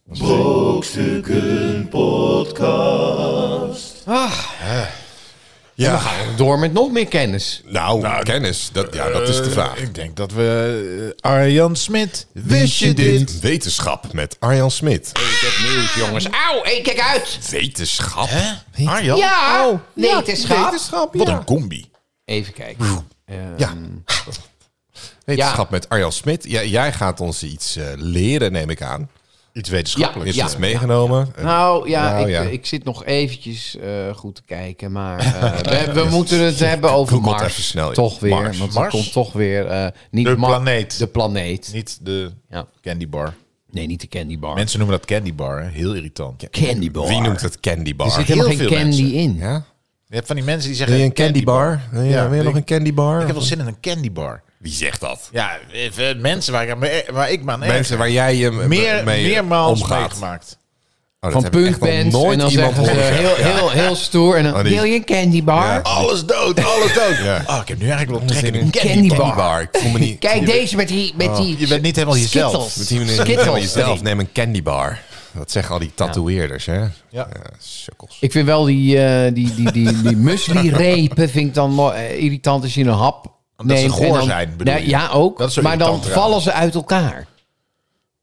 Speaker 5: Ah. We
Speaker 2: Ah. Ja,
Speaker 5: gaan door met nog meer kennis.
Speaker 2: nou, kennis. Dat, ja, dat is de
Speaker 3: Eh,
Speaker 2: vraag.
Speaker 3: Ik denk dat we eh, Arjan Smit. Wist je dit?
Speaker 2: Wetenschap met Arjan Smit.
Speaker 5: Nieuws, jongens. Auw, hé, kijk uit!
Speaker 2: Wetenschap?
Speaker 3: Arjan?
Speaker 5: Ja!
Speaker 3: Oh,
Speaker 5: nee, het is gaaf.
Speaker 3: Wat een combi.
Speaker 5: Even kijken.
Speaker 2: Ja. Wetenschap met Arjan Smit. Jij- jij gaat ons iets eh, leren, neem ik aan.
Speaker 3: Iets
Speaker 5: Ja,
Speaker 3: wetenschappelijks.
Speaker 2: Je hebt
Speaker 5: ja.
Speaker 2: iets meegenomen. Eh,
Speaker 5: Nou ja,
Speaker 2: Nou,
Speaker 5: ik,
Speaker 2: ja.
Speaker 5: ik zit nog eventjes eh, goed te kijken. Maar eh, we, we moeten het hebben over
Speaker 2: Google het
Speaker 5: Mars.
Speaker 2: even snel, joh.
Speaker 5: toch weer.
Speaker 2: Mars.
Speaker 5: Want
Speaker 3: Mars?
Speaker 5: er komt toch weer. eh, niet
Speaker 3: De
Speaker 5: Ma-
Speaker 3: planeet.
Speaker 5: De planeet.
Speaker 3: Niet de
Speaker 5: Ja.
Speaker 3: candy bar.
Speaker 5: Nee, niet de candy bar.
Speaker 3: Mensen noemen dat candy bar, hè? heel irritant.
Speaker 5: candy bar.
Speaker 2: Wie noemt het candy bar?
Speaker 5: er zit helemaal
Speaker 3: Heel
Speaker 5: geen
Speaker 3: veel
Speaker 5: candy
Speaker 3: mensen.
Speaker 5: in.
Speaker 2: Ja?
Speaker 3: Je hebt van die mensen die
Speaker 2: Wil
Speaker 3: zeggen...
Speaker 2: je een candy bar? Ja, wil je
Speaker 3: ik-
Speaker 2: nog een candy bar?
Speaker 3: Ik heb wel zin in een candy bar.
Speaker 2: Wie zegt dat?
Speaker 3: Ja, eh, eh, mensen waar, ik- waar ik- waar ik me aan erg.
Speaker 2: Mensen waar jij je m-
Speaker 3: meer,
Speaker 2: mee eh,
Speaker 3: meermaals
Speaker 2: omgaat.
Speaker 3: meegemaakt.
Speaker 2: Oh, dat
Speaker 5: Van
Speaker 2: heb ik echt nog
Speaker 5: punkbands.
Speaker 2: nooit
Speaker 5: En dan
Speaker 2: iemand
Speaker 5: zeggen ze
Speaker 2: horen
Speaker 5: heel,
Speaker 2: zeggen.
Speaker 5: heel, heel stoer. En dan
Speaker 2: Oh, die-
Speaker 5: wil je een candy bar?
Speaker 2: Ja.
Speaker 3: Alles dood, alles dood.
Speaker 2: Ja.
Speaker 3: Oh, ik heb nu eigenlijk wel trek in
Speaker 2: Zin
Speaker 3: een
Speaker 2: in
Speaker 3: candy,
Speaker 5: candy
Speaker 3: bar.
Speaker 5: bar.
Speaker 2: Ik voel me niet...
Speaker 5: Kijk, deze met die... Met die
Speaker 3: Oh. Je bent niet helemaal jezelf.
Speaker 5: Skittles.
Speaker 2: Met die meneer
Speaker 5: Skittles.
Speaker 2: helemaal jezelf. Neem een candy bar. Dat zeggen al die tatoeëerders, hè? Ja. sukkels.
Speaker 5: Ik vind wel die, eh, die, die, die, die muesli-repen vind ik dan mooi, eh, irritant als je een hap
Speaker 3: Omdat ze
Speaker 5: neemt
Speaker 3: goor
Speaker 5: en dan- Nou,
Speaker 3: zijn, bedoel je?
Speaker 5: Ja, ook.
Speaker 3: Dat is zo
Speaker 5: maar dan
Speaker 3: irritant eraan.
Speaker 5: vallen ze uit elkaar.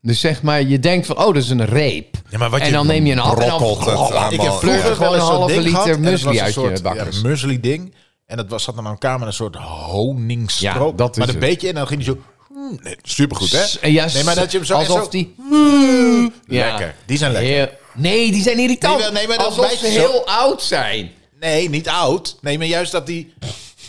Speaker 5: Dus zeg maar, je denkt van, oh, dat is een reep.
Speaker 3: Ja, maar wat
Speaker 5: en
Speaker 3: je
Speaker 5: dan neem je een hap en dan... Oh,
Speaker 2: brokkelt het allemaal.
Speaker 3: Ik heb
Speaker 5: Pleur
Speaker 3: vroeger wel
Speaker 5: er gewoon
Speaker 3: eens
Speaker 5: een
Speaker 3: zo'n
Speaker 5: halve
Speaker 3: ding gehad en
Speaker 5: liter
Speaker 3: dat was
Speaker 5: muesli
Speaker 3: een
Speaker 5: uit
Speaker 3: soort,
Speaker 5: je bakkers.
Speaker 3: Ja, muesli ding. En dat was, zat dan aan elkaar met een soort honingstroop.
Speaker 5: Ja, dat
Speaker 3: maar
Speaker 5: is
Speaker 3: een
Speaker 5: het.
Speaker 3: beetje en dan ging die zo... mm, nee, Supergoed,
Speaker 5: S-
Speaker 3: hè?
Speaker 5: en ja,
Speaker 3: nee, maar dat je hem zo...
Speaker 5: alsof
Speaker 3: zo-
Speaker 5: die... Ja.
Speaker 3: Lekker. Die zijn lekker.
Speaker 5: Heel- nee, die zijn irritant.
Speaker 3: Nee, maar- nee, maar dat
Speaker 5: alsof
Speaker 3: wijst
Speaker 5: ze
Speaker 3: zo-
Speaker 5: heel oud zijn.
Speaker 3: Nee, niet oud. Nee, maar juist dat die...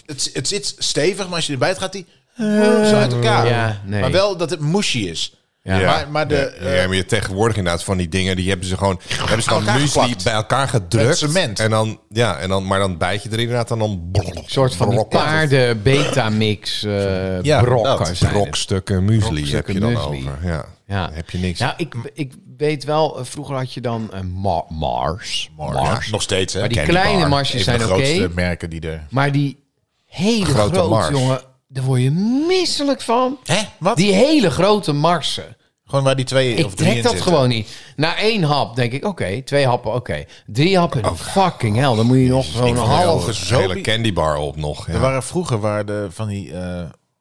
Speaker 3: Het, het zit stevig, maar als je erbij het gaat, die... zo uit elkaar.
Speaker 5: Ja, nee.
Speaker 3: Maar wel dat het mushy is.
Speaker 5: Ja.
Speaker 3: Maar, maar de... eh,
Speaker 2: ja, ja, maar je tegenwoordig inderdaad van die dingen, die hebben ze gewoon, hebben ze gewoon
Speaker 3: elkaar
Speaker 2: muesli
Speaker 3: geplakt.
Speaker 2: bij elkaar gedrukt.
Speaker 3: Met cement.
Speaker 2: En dan, ja, en dan, maar dan bijt je er inderdaad en dan... Een
Speaker 5: Een soort van die paarden betamix eh
Speaker 2: Ja,
Speaker 5: brokken
Speaker 2: dat.
Speaker 5: zijn het.
Speaker 2: brokstukken muesli heb
Speaker 5: Brokstukken
Speaker 2: je dan
Speaker 5: muesli.
Speaker 2: over. Ja.
Speaker 5: Ja.
Speaker 2: Dan heb je niks.
Speaker 5: Nou, ik, ik weet wel, eh, vroeger had je dan eh, Ma- Mars. Mars.
Speaker 3: Ja, nog steeds, hè?
Speaker 5: Maar die
Speaker 3: Candy
Speaker 5: kleine
Speaker 3: bar.
Speaker 5: marsjes
Speaker 3: Een van
Speaker 5: zijn
Speaker 3: de
Speaker 5: oké.
Speaker 3: grootste merken die er...
Speaker 5: Maar die hele
Speaker 2: Grote
Speaker 5: grote
Speaker 2: Mars.
Speaker 5: jongen, daar word je misselijk van.
Speaker 3: Hè? Wat?
Speaker 5: Die hele grote Marsen.
Speaker 3: Gewoon waar die twee
Speaker 5: Ik
Speaker 3: of drie
Speaker 5: trek
Speaker 3: in
Speaker 5: dat
Speaker 3: zitten.
Speaker 5: gewoon niet. Na één hap denk ik, oké, twee happen, oké. Drie happen, fucking hell. Dan moet je nog zo'n halve...
Speaker 2: Een hele candybar op nog.
Speaker 3: Er
Speaker 2: Ja.
Speaker 3: waren vroeger waren de, van die eh,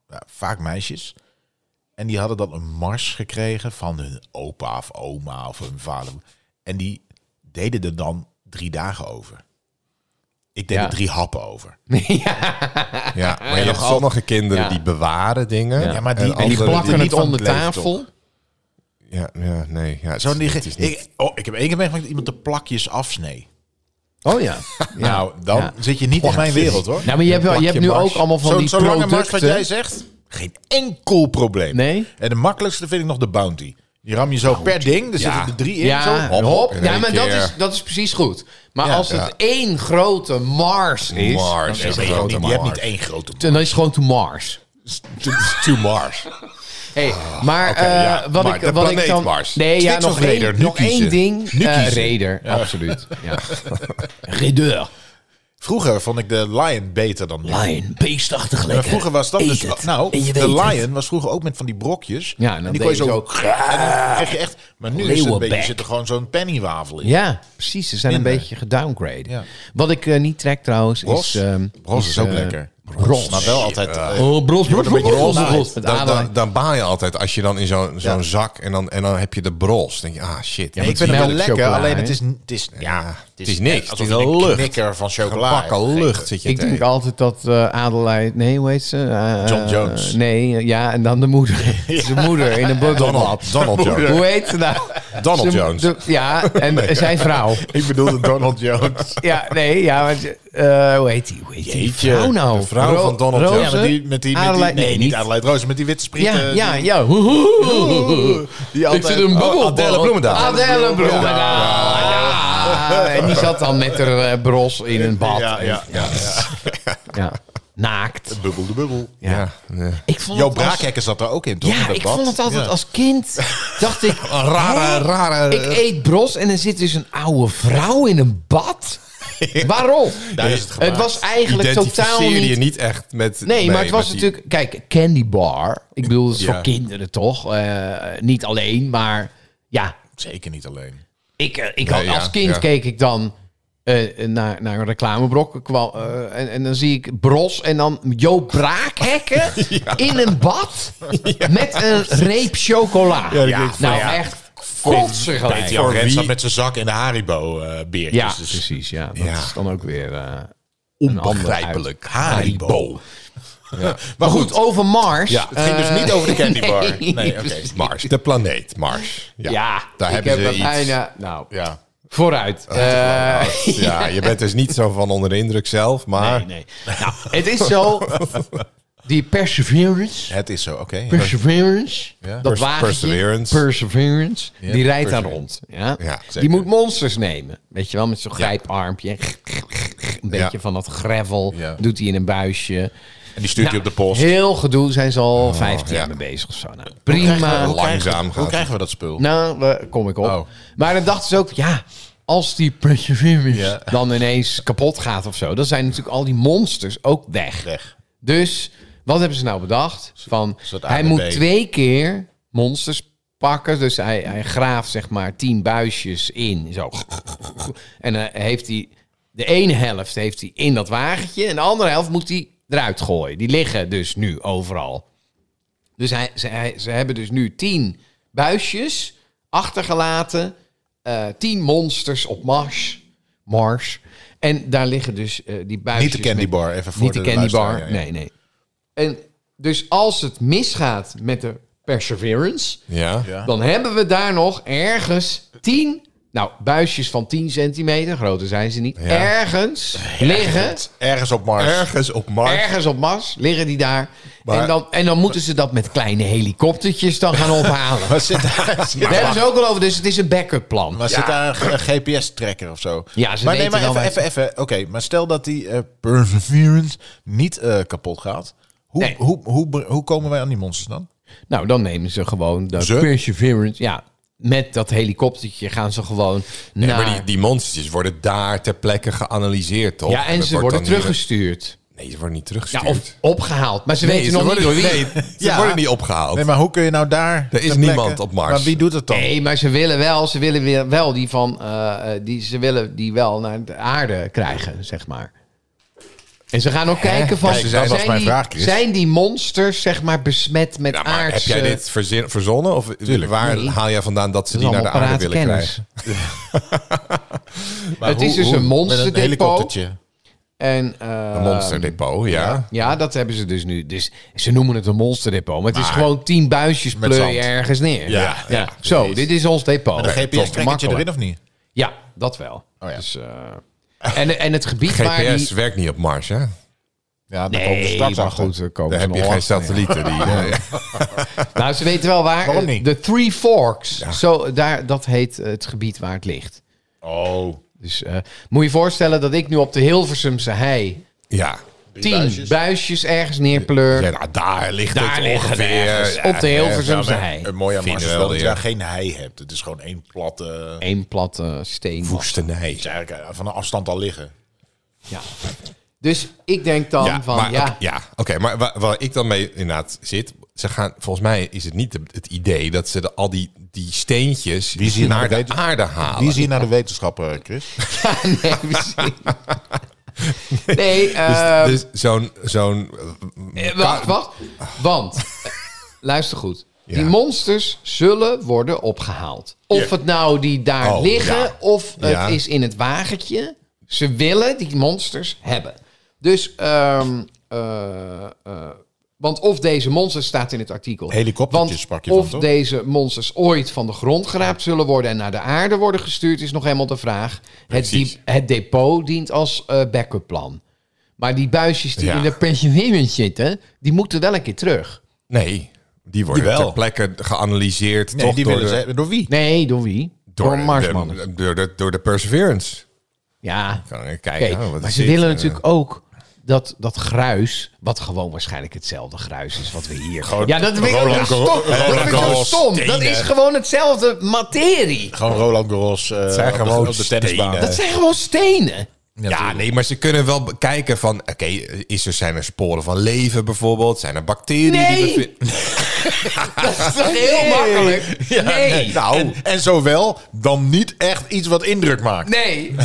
Speaker 3: ja, vaak meisjes. En die hadden dan een mars gekregen van hun opa of oma of hun vader. En die deden er dan drie dagen over. Ik deed
Speaker 5: Ja.
Speaker 3: er drie happen over.
Speaker 2: Ja, maar je hebt sommige kinderen
Speaker 5: Ja.
Speaker 2: die bewaren dingen.
Speaker 3: Ja, maar die-
Speaker 2: en
Speaker 3: en die
Speaker 2: anderen
Speaker 5: Plakken
Speaker 3: niet
Speaker 5: het
Speaker 3: van
Speaker 5: onder
Speaker 3: het leven,
Speaker 5: tafel.
Speaker 2: Ja, ja, nee. Ja, het
Speaker 3: Zo
Speaker 2: is-
Speaker 3: die,
Speaker 2: het is niet-
Speaker 3: ik, oh, ik heb één keer meegemaakt dat iemand de plakjes afsnee.
Speaker 5: Oh ja. Ja.
Speaker 3: Nou, dan
Speaker 5: Ja.
Speaker 3: zit je niet in mijn wereld hoor.
Speaker 5: Nou, maar je hebt, wel, je hebt nu
Speaker 2: plakje
Speaker 5: ook
Speaker 2: mars.
Speaker 5: allemaal van
Speaker 3: Zo'n
Speaker 5: die
Speaker 3: zo lange mars wat
Speaker 5: producten.
Speaker 3: jij zegt, geen enkel probleem.
Speaker 5: Nee?
Speaker 3: En de makkelijkste vind ik nog de bounty. Die ram je zo per ding, er
Speaker 2: Ja.
Speaker 3: zitten er drie in. zo,
Speaker 5: Ja,
Speaker 3: hop,
Speaker 5: hop.
Speaker 3: hop.
Speaker 2: in
Speaker 5: ja,
Speaker 2: één
Speaker 5: maar dat
Speaker 2: keer.
Speaker 5: is, dat is precies goed. Maar
Speaker 3: Ja.
Speaker 5: als het
Speaker 2: Ja.
Speaker 5: één grote Mars is,
Speaker 2: Mars
Speaker 3: Je
Speaker 2: is een
Speaker 3: hebt
Speaker 2: grote
Speaker 3: niet- je hebt niet
Speaker 2: Mars.
Speaker 3: één grote
Speaker 5: dan is het gewoon to Mars.
Speaker 2: To Mars.
Speaker 5: Hey, maar
Speaker 2: oké,
Speaker 5: eh,
Speaker 2: ja,
Speaker 5: wat
Speaker 2: maar
Speaker 5: ik,
Speaker 2: de
Speaker 5: wat ik
Speaker 2: planeet
Speaker 5: dan,
Speaker 2: Mars.
Speaker 5: nee, ja,
Speaker 2: Sticks
Speaker 5: nog
Speaker 2: of Raider?
Speaker 5: één,
Speaker 2: Nu
Speaker 5: nog één
Speaker 2: kiezen.
Speaker 5: ding,
Speaker 2: Nu
Speaker 5: Eh,
Speaker 2: kiezen.
Speaker 5: Raider, absoluut. Ja. Raideur,
Speaker 3: Vroeger vond ik de Lion beter dan nu.
Speaker 5: lion, beestachtig lekker.
Speaker 3: Maar vroeger was dat
Speaker 5: Eet
Speaker 3: dus...
Speaker 5: het.
Speaker 3: Nou,
Speaker 5: En je
Speaker 3: de
Speaker 5: weet het.
Speaker 3: Lion was vroeger ook met van die brokjes.
Speaker 5: Ja, en
Speaker 3: en,
Speaker 5: dan
Speaker 3: die kon je
Speaker 5: deed
Speaker 3: zo...
Speaker 5: je
Speaker 3: En dan kreeg je echt... Maar nu is het een beetje,
Speaker 5: Leeuwenbek.
Speaker 3: zit er gewoon zo'n pennywafel in.
Speaker 5: Ja, precies. Ze zijn een
Speaker 3: Minder.
Speaker 5: beetje gedowngraded.
Speaker 3: Ja.
Speaker 5: Wat ik eh, niet trek trouwens
Speaker 3: Bros.
Speaker 5: is... ehm,
Speaker 3: Bros is ook
Speaker 5: eh,
Speaker 3: lekker.
Speaker 5: Bros.
Speaker 3: Maar wel altijd... eh,
Speaker 5: Oh, bros,
Speaker 3: een
Speaker 5: bros, bros,
Speaker 3: beetje
Speaker 5: bros,
Speaker 3: genaaid.
Speaker 5: bros. Met
Speaker 2: Dan,
Speaker 5: adelaar.
Speaker 2: dan, dan baal je altijd als je dan in zo'n zo'n
Speaker 3: Ja.
Speaker 2: zak en dan, en dan heb je de bros. Dan denk je, ah shit.
Speaker 3: Nee, ik vind
Speaker 2: dit is
Speaker 3: het wel
Speaker 5: melk
Speaker 3: lekker,
Speaker 5: chocola,
Speaker 3: alleen
Speaker 5: hè?
Speaker 3: het is, het is, ja,
Speaker 2: het is niks.
Speaker 3: Alsof
Speaker 2: Het
Speaker 3: je
Speaker 2: is
Speaker 3: een
Speaker 2: lucht.
Speaker 3: knikker van chocola hebt
Speaker 2: gebakken
Speaker 3: gegeten.
Speaker 2: lucht zit je
Speaker 5: Ik
Speaker 2: te
Speaker 5: denk
Speaker 2: eten.
Speaker 5: altijd dat eh Adelaide... Nee, hoe heet ze? Eh,
Speaker 3: John
Speaker 5: eh,
Speaker 3: Jones.
Speaker 5: nee, eh, ja, en dan de moeder. Zijn moeder in een bubble.
Speaker 2: Donald, Donald Jones.
Speaker 5: Hoe heet ze nou?
Speaker 2: Donald
Speaker 5: Zijn-
Speaker 2: Jones.
Speaker 5: de- ja, en zijn vrouw.
Speaker 3: Ik bedoelde Donald Jones.
Speaker 5: Ja, nee, ja, want... je- eh, hoe heet die? Hoe heet die
Speaker 3: Jeetje,
Speaker 5: vrouw nou?
Speaker 2: de vrouw van Donald
Speaker 5: Roze?
Speaker 2: Jones.
Speaker 3: Ja, met die, met die, met die
Speaker 5: Adelaide-
Speaker 3: nee,
Speaker 5: nee,
Speaker 3: niet
Speaker 5: niet.
Speaker 3: Adelaide Roos, met die witte sprieten.
Speaker 5: Ja, ja,
Speaker 3: die-
Speaker 5: ja.
Speaker 3: Die eh, altijd,
Speaker 5: ik zit in een bubbel.
Speaker 2: Oh, Adele Bloemendaal.
Speaker 5: Adele Bloemendaal. Ah, En die zat dan met haar eh, bros in een bad.
Speaker 3: Ja, ja, ja. ja.
Speaker 5: Ja. Naakt.
Speaker 3: Bubbel de bubbel.
Speaker 5: Ja.
Speaker 2: Ja, nee.
Speaker 5: Ik vond
Speaker 3: Jo
Speaker 5: het als-
Speaker 3: Braakhekken zat daar ook in, toch?
Speaker 5: Ja,
Speaker 3: Dat
Speaker 5: ik
Speaker 3: bad?
Speaker 5: vond het altijd
Speaker 3: Ja.
Speaker 5: als kind. Dacht ik,
Speaker 2: Een rare,
Speaker 5: hè?
Speaker 2: rare...
Speaker 5: ik eet bros en er zit dus een oude vrouw in een bad. Waarom?
Speaker 3: Daar is het gemaakt.
Speaker 5: was eigenlijk totaal
Speaker 2: Identificeer je
Speaker 5: niet
Speaker 2: niet echt met...
Speaker 5: Nee, maar het was
Speaker 2: met die-
Speaker 5: natuurlijk... Kijk, Candy Bar. Ik bedoel, het is
Speaker 3: Ja.
Speaker 5: voor kinderen toch? Eh, niet alleen, maar ja.
Speaker 3: Zeker niet alleen.
Speaker 5: Ik, eh, ik
Speaker 2: Nee,
Speaker 5: had,
Speaker 2: ja,
Speaker 5: als kind
Speaker 2: ja.
Speaker 5: keek ik dan eh, naar, naar een reclameblok. kwam, eh, en, en dan zie ik Bros en dan Jo Braakhekken in een bad met een reep chocola.
Speaker 3: dat denk ik van,
Speaker 5: nou,
Speaker 3: ja.
Speaker 5: echt kotsig.
Speaker 3: Peter
Speaker 5: gelijk.
Speaker 3: Jan
Speaker 2: Voor
Speaker 3: Rens
Speaker 2: wie-
Speaker 3: zat met zijn zak en de Haribo eh beertjes.
Speaker 5: Ja,
Speaker 3: dus
Speaker 5: precies. Ja, dat
Speaker 2: Ja.
Speaker 5: is dan ook weer eh een ander uit.
Speaker 3: Onbegrijpelijk. Haribo. Maar
Speaker 5: Goed,
Speaker 3: goed,
Speaker 5: over Mars.
Speaker 3: ja, het ging dus
Speaker 5: eh,
Speaker 3: niet over de candy bar.
Speaker 5: nee,
Speaker 3: Nee, oké.
Speaker 5: precies.
Speaker 2: Mars, de planeet Mars. Ja,
Speaker 5: ja,
Speaker 2: daar
Speaker 5: ik
Speaker 2: hebben
Speaker 5: heb
Speaker 2: ze
Speaker 5: er
Speaker 2: iets.
Speaker 5: bijna- nou,
Speaker 3: Ja.
Speaker 5: vooruit. Eh,
Speaker 2: Ja, je bent dus niet zo van onder de indruk zelf, maar...
Speaker 5: nee, nee. Nou, het is zo. Die Perseverance.
Speaker 3: Het is zo, oké. ja.
Speaker 5: Perseverance. Dat
Speaker 2: Pers-
Speaker 5: wagentje.
Speaker 2: Perseverance.
Speaker 5: Perseverance, die rijdt daar
Speaker 2: Perseverance.
Speaker 5: rond. Ja?
Speaker 2: Ja, zeker.
Speaker 5: die moet monsters nemen. Weet je wel, met zo'n grijparmpje. Een beetje
Speaker 2: Ja.
Speaker 5: van dat gravel.
Speaker 3: Ja.
Speaker 5: Doet hij in een buisje.
Speaker 3: En die stuurt hij
Speaker 5: Nou,
Speaker 3: op de post. Oh,
Speaker 5: Heel gedoe. Zijn ze al 15
Speaker 2: ja.
Speaker 5: jaar mee bezig of zo. Nou,
Speaker 2: we-
Speaker 5: prima.
Speaker 2: hoe Langzaam
Speaker 3: Hoe
Speaker 2: gaat het.
Speaker 3: krijgen we dat spul?
Speaker 5: Nou, daar kom ik op.
Speaker 3: Oh.
Speaker 5: Maar dan dachten ze ook, ja, als die Perseverance
Speaker 3: Ja.
Speaker 5: dan ineens kapot gaat of zo, dan zijn natuurlijk al die monsters ook weg.
Speaker 3: Weg.
Speaker 5: Dus wat hebben ze nou bedacht? Van,
Speaker 3: soort
Speaker 5: hij
Speaker 3: ABB.
Speaker 5: moet twee keer monsters pakken. Dus hij, hij graaft zeg maar tien buisjes in. Zo. En dan heeft hij de ene helft heeft hij in dat wagentje en de andere helft moet hij eruit gooien. Die liggen dus nu overal. Dus hij, ze, hij- ze hebben dus nu tien buisjes achtergelaten. eh tien monsters op Mars. Mars. En daar liggen dus eh, die buisjes.
Speaker 3: Niet de candy
Speaker 5: met-
Speaker 3: bar, even voor
Speaker 5: Niet de
Speaker 3: de
Speaker 5: candy bar.
Speaker 3: luisteraar, ja, ja.
Speaker 5: Nee, nee. En dus als het misgaat met de Perseverance,
Speaker 2: Ja.
Speaker 3: Ja.
Speaker 5: dan hebben we daar nog ergens tien. Nou, buisjes van 10 centimeter, groter zijn ze niet. Ergens liggen
Speaker 3: Ergens op Mars.
Speaker 2: Ergens op Mars.
Speaker 5: Ergens op Mars liggen die daar.
Speaker 2: Maar-
Speaker 5: en, dan, en dan moeten ze dat met kleine helikoptertjes dan gaan ophalen.
Speaker 3: Maar zit daar, zit
Speaker 5: Daar
Speaker 3: daar-
Speaker 5: hebben ze ook al over, dus het is een backup plan.
Speaker 3: maar zit daar een GPS-tracker of zo?
Speaker 5: Ja, ze
Speaker 3: maar nee,
Speaker 5: weten
Speaker 3: maar
Speaker 5: wel
Speaker 3: even,
Speaker 5: waar
Speaker 3: even, even. Oké, maar stel dat die eh, Perseverance niet eh, kapot gaat. Hoe,
Speaker 5: Nee.
Speaker 3: hoe, hoe, hoe, komen wij aan die monsters dan?
Speaker 5: Nou, dan nemen ze gewoon de
Speaker 2: Ze?
Speaker 5: Perseverance. Ja, met dat helikoptertje gaan ze gewoon
Speaker 2: Nee,
Speaker 5: naar...
Speaker 2: maar die, die monstertjes worden daar ter plekke geanalyseerd, toch?
Speaker 5: ja, en
Speaker 2: dat
Speaker 5: ze
Speaker 2: wordt
Speaker 5: worden
Speaker 2: dan hier-
Speaker 5: teruggestuurd.
Speaker 2: Nee, ze worden niet
Speaker 5: Ja,
Speaker 2: teruggestuurd.
Speaker 5: of opgehaald. Maar ze
Speaker 2: nee,
Speaker 5: weten
Speaker 2: ze
Speaker 5: nog niet
Speaker 2: worden,
Speaker 5: door wie.
Speaker 2: nee, ze
Speaker 3: Ja.
Speaker 2: worden niet opgehaald.
Speaker 3: Nee, maar hoe kun je nou daar... ter
Speaker 2: is
Speaker 3: plekke-
Speaker 2: niemand op Mars.
Speaker 3: Maar wie doet het dan?
Speaker 5: Nee, maar ze willen wel, ze willen weer wel die van, eh, eh, die, ze willen die wel naar de aarde krijgen, zeg maar. En ze gaan ook kijken van,
Speaker 3: Kijk, dat was
Speaker 5: zijn,
Speaker 3: mijn
Speaker 5: die,
Speaker 3: vraag, Chris.
Speaker 5: zijn die monsters, zeg maar, besmet met
Speaker 2: ja, maar heb
Speaker 5: aardse...
Speaker 2: jij dit verzin- verzonnen? Of waar
Speaker 5: Nee.
Speaker 2: haal jij vandaan dat ze die naar de aarde willen krijgen?
Speaker 3: Maar
Speaker 5: het is dus een
Speaker 3: Met een
Speaker 5: monsterdepot.
Speaker 3: helikoptertje.
Speaker 5: En, eh,
Speaker 2: Een monsterdepot, ja.
Speaker 5: Ja, dat hebben ze dus nu. Dus ze noemen het een monsterdepot. Maar het is gewoon tien buisjes
Speaker 3: Met
Speaker 5: pleur
Speaker 3: zand.
Speaker 5: je ergens neer.
Speaker 3: Ja, ja,
Speaker 5: Zo,
Speaker 3: precies.
Speaker 5: dit is ons depot.
Speaker 3: Met een
Speaker 5: Toch
Speaker 3: GPS-trekkertje
Speaker 5: makkelijk.
Speaker 3: erin of niet?
Speaker 5: Ja, dat wel.
Speaker 3: Oh ja.
Speaker 5: Dus, eh, en, en het gebied waar
Speaker 2: GPS
Speaker 5: die...
Speaker 2: werkt niet op Mars, hè?
Speaker 3: Ja, dan komen ze
Speaker 5: Nee,
Speaker 3: straks
Speaker 5: maar
Speaker 3: achter.
Speaker 5: goed, daar komen
Speaker 2: Daar
Speaker 5: ze
Speaker 2: heb je
Speaker 5: nog
Speaker 2: geen
Speaker 5: achter.
Speaker 2: satellieten. Die, ja.
Speaker 5: Nou, ze weten wel waar.
Speaker 3: Waarom
Speaker 5: eh,
Speaker 3: niet?
Speaker 5: De Three Forks. Zo, daar, dat heet eh, het gebied waar het ligt.
Speaker 3: Oh,
Speaker 5: Dus eh, moet je je voorstellen dat ik nu op de Hilversumse hei...
Speaker 2: ja.
Speaker 5: tien buisjes,
Speaker 3: buisjes.
Speaker 5: ergens neerpleur.
Speaker 2: Ja, nou, daar ligt
Speaker 5: Daar
Speaker 2: het
Speaker 5: liggen we
Speaker 2: ongeveer.
Speaker 5: ergens,
Speaker 2: Ja,
Speaker 5: op de Hilversumse
Speaker 2: ja, maar-
Speaker 5: hei.
Speaker 3: nou, een mooie
Speaker 2: Vinden
Speaker 3: Mars is
Speaker 2: wel,
Speaker 3: wel dat je
Speaker 2: ja.
Speaker 3: daar geen hei hebt. Het is gewoon één platte...
Speaker 5: Eén platte steen.
Speaker 2: Woestenij.
Speaker 3: Het is eigenlijk eh, van een afstand al liggen.
Speaker 5: Ja. Dus ik denk dan
Speaker 2: Ja,
Speaker 5: van,
Speaker 2: maar,
Speaker 5: ja,
Speaker 2: oké, ja, oké. maar waar, waar ik dan mee inderdaad zit, ze gaan, volgens mij is het niet de- het idee dat ze de, al die, die steentjes
Speaker 3: Wie zie je
Speaker 2: naar
Speaker 3: nou
Speaker 2: de
Speaker 3: beter?
Speaker 2: aarde halen.
Speaker 3: Die zie je naar de wetenschapper, Chris.
Speaker 5: nee, precies. nee,
Speaker 2: dus
Speaker 5: eh,
Speaker 2: dus zo'n... zo'n
Speaker 5: eh, wacht, wacht. Want, eh, luister goed. Die
Speaker 2: Ja.
Speaker 5: monsters zullen worden opgehaald. Of het nou die daar
Speaker 2: Oh,
Speaker 5: liggen,
Speaker 2: ja.
Speaker 5: of het
Speaker 2: Ja.
Speaker 5: is in het wagentje. Ze willen die monsters hebben. Dus, ehm, eh, eh, want of deze monsters, staat in het artikel.
Speaker 3: Helikoptertjes
Speaker 5: Want
Speaker 3: sprak je
Speaker 5: of
Speaker 3: van, toch?
Speaker 5: deze monsters ooit van de grond geraapt zullen worden en naar de aarde worden gestuurd, is nog helemaal de vraag. Het,
Speaker 2: Precies.
Speaker 5: diep- het depot dient als eh backup plan. Maar die buisjes die
Speaker 2: Ja.
Speaker 5: in de pensionering zitten, die moeten wel een keer terug.
Speaker 2: Nee, die worden
Speaker 3: Jawel.
Speaker 2: ter plekke geanalyseerd.
Speaker 3: Nee,
Speaker 2: toch
Speaker 3: die
Speaker 2: door
Speaker 3: willen
Speaker 2: de-
Speaker 3: ze... Door wie?
Speaker 5: Nee, door wie? Door,
Speaker 2: door,
Speaker 5: Marsman.
Speaker 2: de, door, de, door de Perseverance.
Speaker 5: Ja,
Speaker 2: Kan ik
Speaker 5: oké.
Speaker 2: kijken. oh, wat
Speaker 5: maar
Speaker 2: is
Speaker 5: ze
Speaker 2: dit?
Speaker 5: willen
Speaker 2: Eh,
Speaker 5: natuurlijk ook dat, dat gruis, wat gewoon waarschijnlijk hetzelfde gruis is wat we hier... ja, dat vind ik ook zo
Speaker 3: Roland
Speaker 5: stom. Dat vind ik zo
Speaker 3: Garros
Speaker 5: stom. Dat
Speaker 3: stenen.
Speaker 5: is gewoon hetzelfde materie.
Speaker 3: Gewoon Roland Garros eh,
Speaker 2: zijn
Speaker 3: op de-
Speaker 2: gewoon
Speaker 3: op de tennisbaan.
Speaker 2: stenen.
Speaker 5: Dat zijn gewoon stenen.
Speaker 2: Ja, nee, maar ze kunnen wel bekijken van... Oké, is er, zijn er sporen van leven bijvoorbeeld? Zijn er bacteriën?
Speaker 5: Nee.
Speaker 2: Die bevi-
Speaker 5: Dat is toch heel makkelijk? nee.
Speaker 3: Nou, en, en zowel dan niet echt iets wat indruk maakt.
Speaker 5: Nee,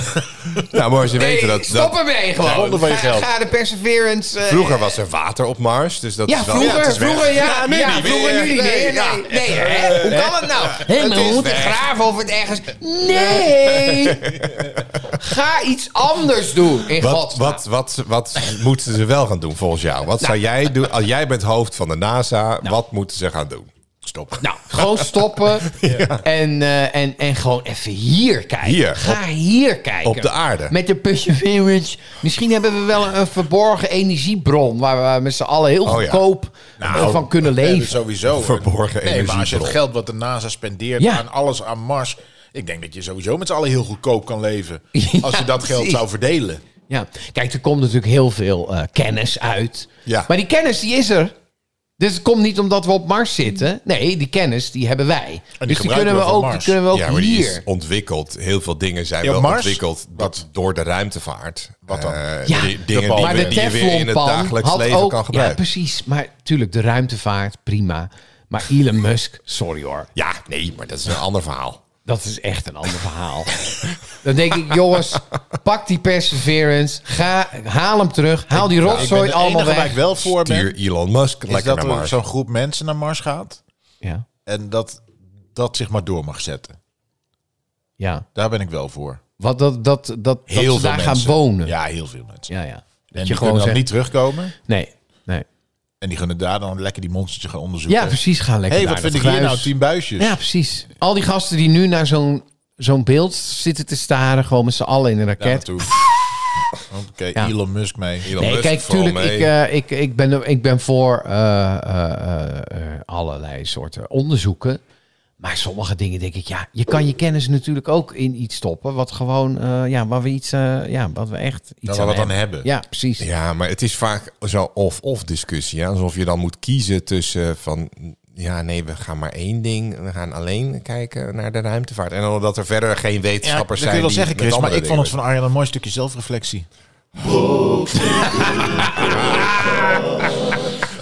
Speaker 2: nou, maar ze
Speaker 5: nee,
Speaker 2: weten dat...
Speaker 5: stop
Speaker 2: dat
Speaker 5: ermee gewoon.
Speaker 3: Zonde van je
Speaker 5: Ga-
Speaker 3: geld.
Speaker 5: Ga de Perseverance... eh,
Speaker 2: vroeger was er water op Mars, dus dat
Speaker 5: Ja,
Speaker 2: is wel...
Speaker 5: vroeger,
Speaker 2: het is weg.
Speaker 5: vroeger, ja.
Speaker 2: nu
Speaker 5: ja,
Speaker 2: niet
Speaker 5: vroeger,
Speaker 2: meer.
Speaker 5: nu niet
Speaker 2: Nee,
Speaker 5: meer.
Speaker 2: ja.
Speaker 5: Nee, nee, hè? Hoe kan het nou? Hé, maar
Speaker 2: is
Speaker 5: we moeten
Speaker 2: weg.
Speaker 5: graven of het ergens... Nee! Ga iets anders doen, in
Speaker 2: Wat,
Speaker 5: godsnaam.
Speaker 2: wat, wat, wat moeten ze wel gaan doen volgens jou? Wat
Speaker 5: Nou.
Speaker 2: zou jij doen? Als jij bent hoofd van de NASA, wat moeten ze gaan doen? Stop.
Speaker 5: Nou, gewoon stoppen en, eh, en, en gewoon even hier kijken.
Speaker 2: Hier,
Speaker 5: Ga hier kijken.
Speaker 2: op de aarde.
Speaker 5: Met de Perseverance. Misschien hebben we wel een verborgen energiebron... waar we met z'n allen heel
Speaker 2: Oh ja.
Speaker 5: goedkoop eh, van kunnen
Speaker 3: Nee,
Speaker 5: leven.
Speaker 3: dus sowieso.
Speaker 2: Verborgen
Speaker 3: nee, maar als je het
Speaker 2: energiebron.
Speaker 3: geld wat de NASA spendeert
Speaker 5: Ja.
Speaker 3: aan alles aan Mars... Ik denk dat je sowieso met z'n allen heel goedkoop kan leven.
Speaker 5: Ja,
Speaker 3: als je dat geld
Speaker 5: precies.
Speaker 3: zou verdelen.
Speaker 5: Ja, kijk, er komt natuurlijk heel veel eh, kennis uit.
Speaker 2: Ja.
Speaker 5: Maar die kennis die is er. Dus het komt niet omdat we op Mars zitten. Nee, die kennis die hebben wij. dus die
Speaker 3: gebruiken
Speaker 5: kunnen we,
Speaker 3: we van
Speaker 5: ook, die
Speaker 3: Mars.
Speaker 5: kunnen we ook
Speaker 2: Ja, maar die is
Speaker 5: hier.
Speaker 2: ontwikkeld. Heel veel dingen zijn
Speaker 3: Ja,
Speaker 2: wel
Speaker 3: Mars?
Speaker 2: ontwikkeld dat door de ruimtevaart.
Speaker 3: Wat dan?
Speaker 2: Eh,
Speaker 5: Ja,
Speaker 2: die- dingen
Speaker 3: bal.
Speaker 2: die,
Speaker 5: maar
Speaker 2: we-
Speaker 5: de
Speaker 2: die je weer in het
Speaker 5: Teflonpan
Speaker 2: dagelijks
Speaker 5: had
Speaker 2: leven
Speaker 5: ook...
Speaker 2: kan
Speaker 5: ja,
Speaker 2: gebruiken.
Speaker 5: precies. Maar tuurlijk, de ruimtevaart, prima. Maar Elon Musk, sorry hoor.
Speaker 2: Ja, nee, maar dat is een ander verhaal.
Speaker 5: Dat is echt een ander verhaal. Dan denk ik, jongens, pak die Perseverance. Ga, haal hem terug. Haal die
Speaker 3: Nou, ik ben
Speaker 5: rotzooi
Speaker 3: de
Speaker 5: allemaal
Speaker 3: enige waar ik
Speaker 5: weg.
Speaker 3: wel voor ben...
Speaker 2: Stuur Elon Musk
Speaker 3: is
Speaker 2: lekker
Speaker 3: dat
Speaker 2: naar
Speaker 3: er
Speaker 2: Mars.
Speaker 3: zo'n groep mensen naar Mars gaat...
Speaker 5: Ja,
Speaker 3: en dat dat zich maar door mag zetten.
Speaker 5: ja.
Speaker 3: Daar ben ik wel voor.
Speaker 5: Wat dat, dat, dat,
Speaker 3: Heel
Speaker 5: dat
Speaker 3: veel
Speaker 5: ze daar
Speaker 3: mensen.
Speaker 5: gaan wonen.
Speaker 3: Ja, heel veel mensen.
Speaker 5: ja. ja.
Speaker 3: En die kunnen dan niet terugkomen.
Speaker 5: Nee, nee.
Speaker 3: En die kunnen daar dan lekker die monstertjes gaan onderzoeken.
Speaker 5: Ja, precies. Ga lekker
Speaker 3: Hé, hey,
Speaker 5: daar,
Speaker 3: wat vind
Speaker 5: dat
Speaker 3: ik hier
Speaker 5: gruis.
Speaker 3: nou? Tien buisjes.
Speaker 5: Ja, precies. Al die gasten die nu naar zo'n zo'n beeld zitten te staren... gewoon met z'n allen in een
Speaker 3: Daar
Speaker 5: raket.
Speaker 3: naartoe. Oké,
Speaker 5: Ja.
Speaker 3: Elon Musk mee. Elon
Speaker 5: nee,
Speaker 2: Musk
Speaker 5: kijk,
Speaker 2: vooral
Speaker 5: tuurlijk, ik,
Speaker 2: mee.
Speaker 5: eh, ik, ik, ben, ik ben voor eh, eh, eh, eh, allerlei soorten onderzoeken. Maar sommige dingen denk ik, ja, je kan je kennis natuurlijk ook in iets stoppen... wat gewoon, eh, ja, waar we iets, eh, ja, wat we echt iets
Speaker 3: Daar we wat aan
Speaker 5: hebben.
Speaker 3: hebben.
Speaker 5: Ja, precies.
Speaker 2: Ja, maar het is vaak zo'n of-of discussie. Hè? Alsof je dan moet kiezen tussen eh, van... Ja, nee, we gaan maar één ding. We gaan alleen kijken naar de ruimtevaart. En omdat er verder geen wetenschappers
Speaker 3: dat kun
Speaker 2: zijn...
Speaker 3: je wel
Speaker 2: die
Speaker 3: zeggen,
Speaker 2: met
Speaker 3: Chris. Maar
Speaker 2: andere
Speaker 3: ik vond het
Speaker 2: dingen-
Speaker 3: van Arjen een mooi stukje zelfreflectie.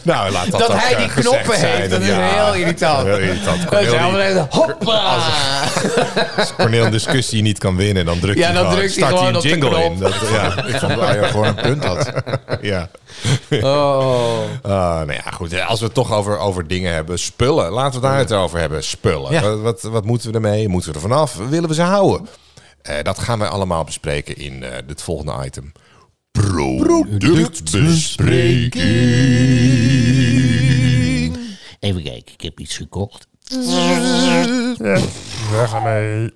Speaker 2: Nou, laat dat
Speaker 5: Dat
Speaker 2: ook,
Speaker 5: hij
Speaker 2: eh,
Speaker 5: die
Speaker 2: gezegd
Speaker 5: knoppen
Speaker 2: zijn.
Speaker 5: heeft, dat is
Speaker 2: Ja,
Speaker 5: heel irritant.
Speaker 2: Heel irritant.
Speaker 5: Dat is
Speaker 2: Cornel die-
Speaker 5: helemaal hoppa!
Speaker 2: Als Cornel een discussie niet kan winnen, dan drukt
Speaker 5: Ja,
Speaker 2: hij
Speaker 5: dan
Speaker 2: gewoon,
Speaker 5: drukt hij
Speaker 2: start hij een
Speaker 5: gewoon op de
Speaker 2: jingle in. Dat, ja,
Speaker 3: Ik vond dat Arjen gewoon een punt had.
Speaker 2: ja.
Speaker 5: Oh.
Speaker 2: Ah, nou ja, goed. Als we het toch over, over dingen hebben. Spullen. Laten we daar het over hebben. Spullen.
Speaker 3: Ja.
Speaker 2: Wat, wat, wat moeten we ermee? Moeten we er vanaf? Willen we ze houden? Eh, dat gaan wij allemaal bespreken in eh, het volgende item. Productbespreking.
Speaker 1: Even kijken, ik heb iets gekocht.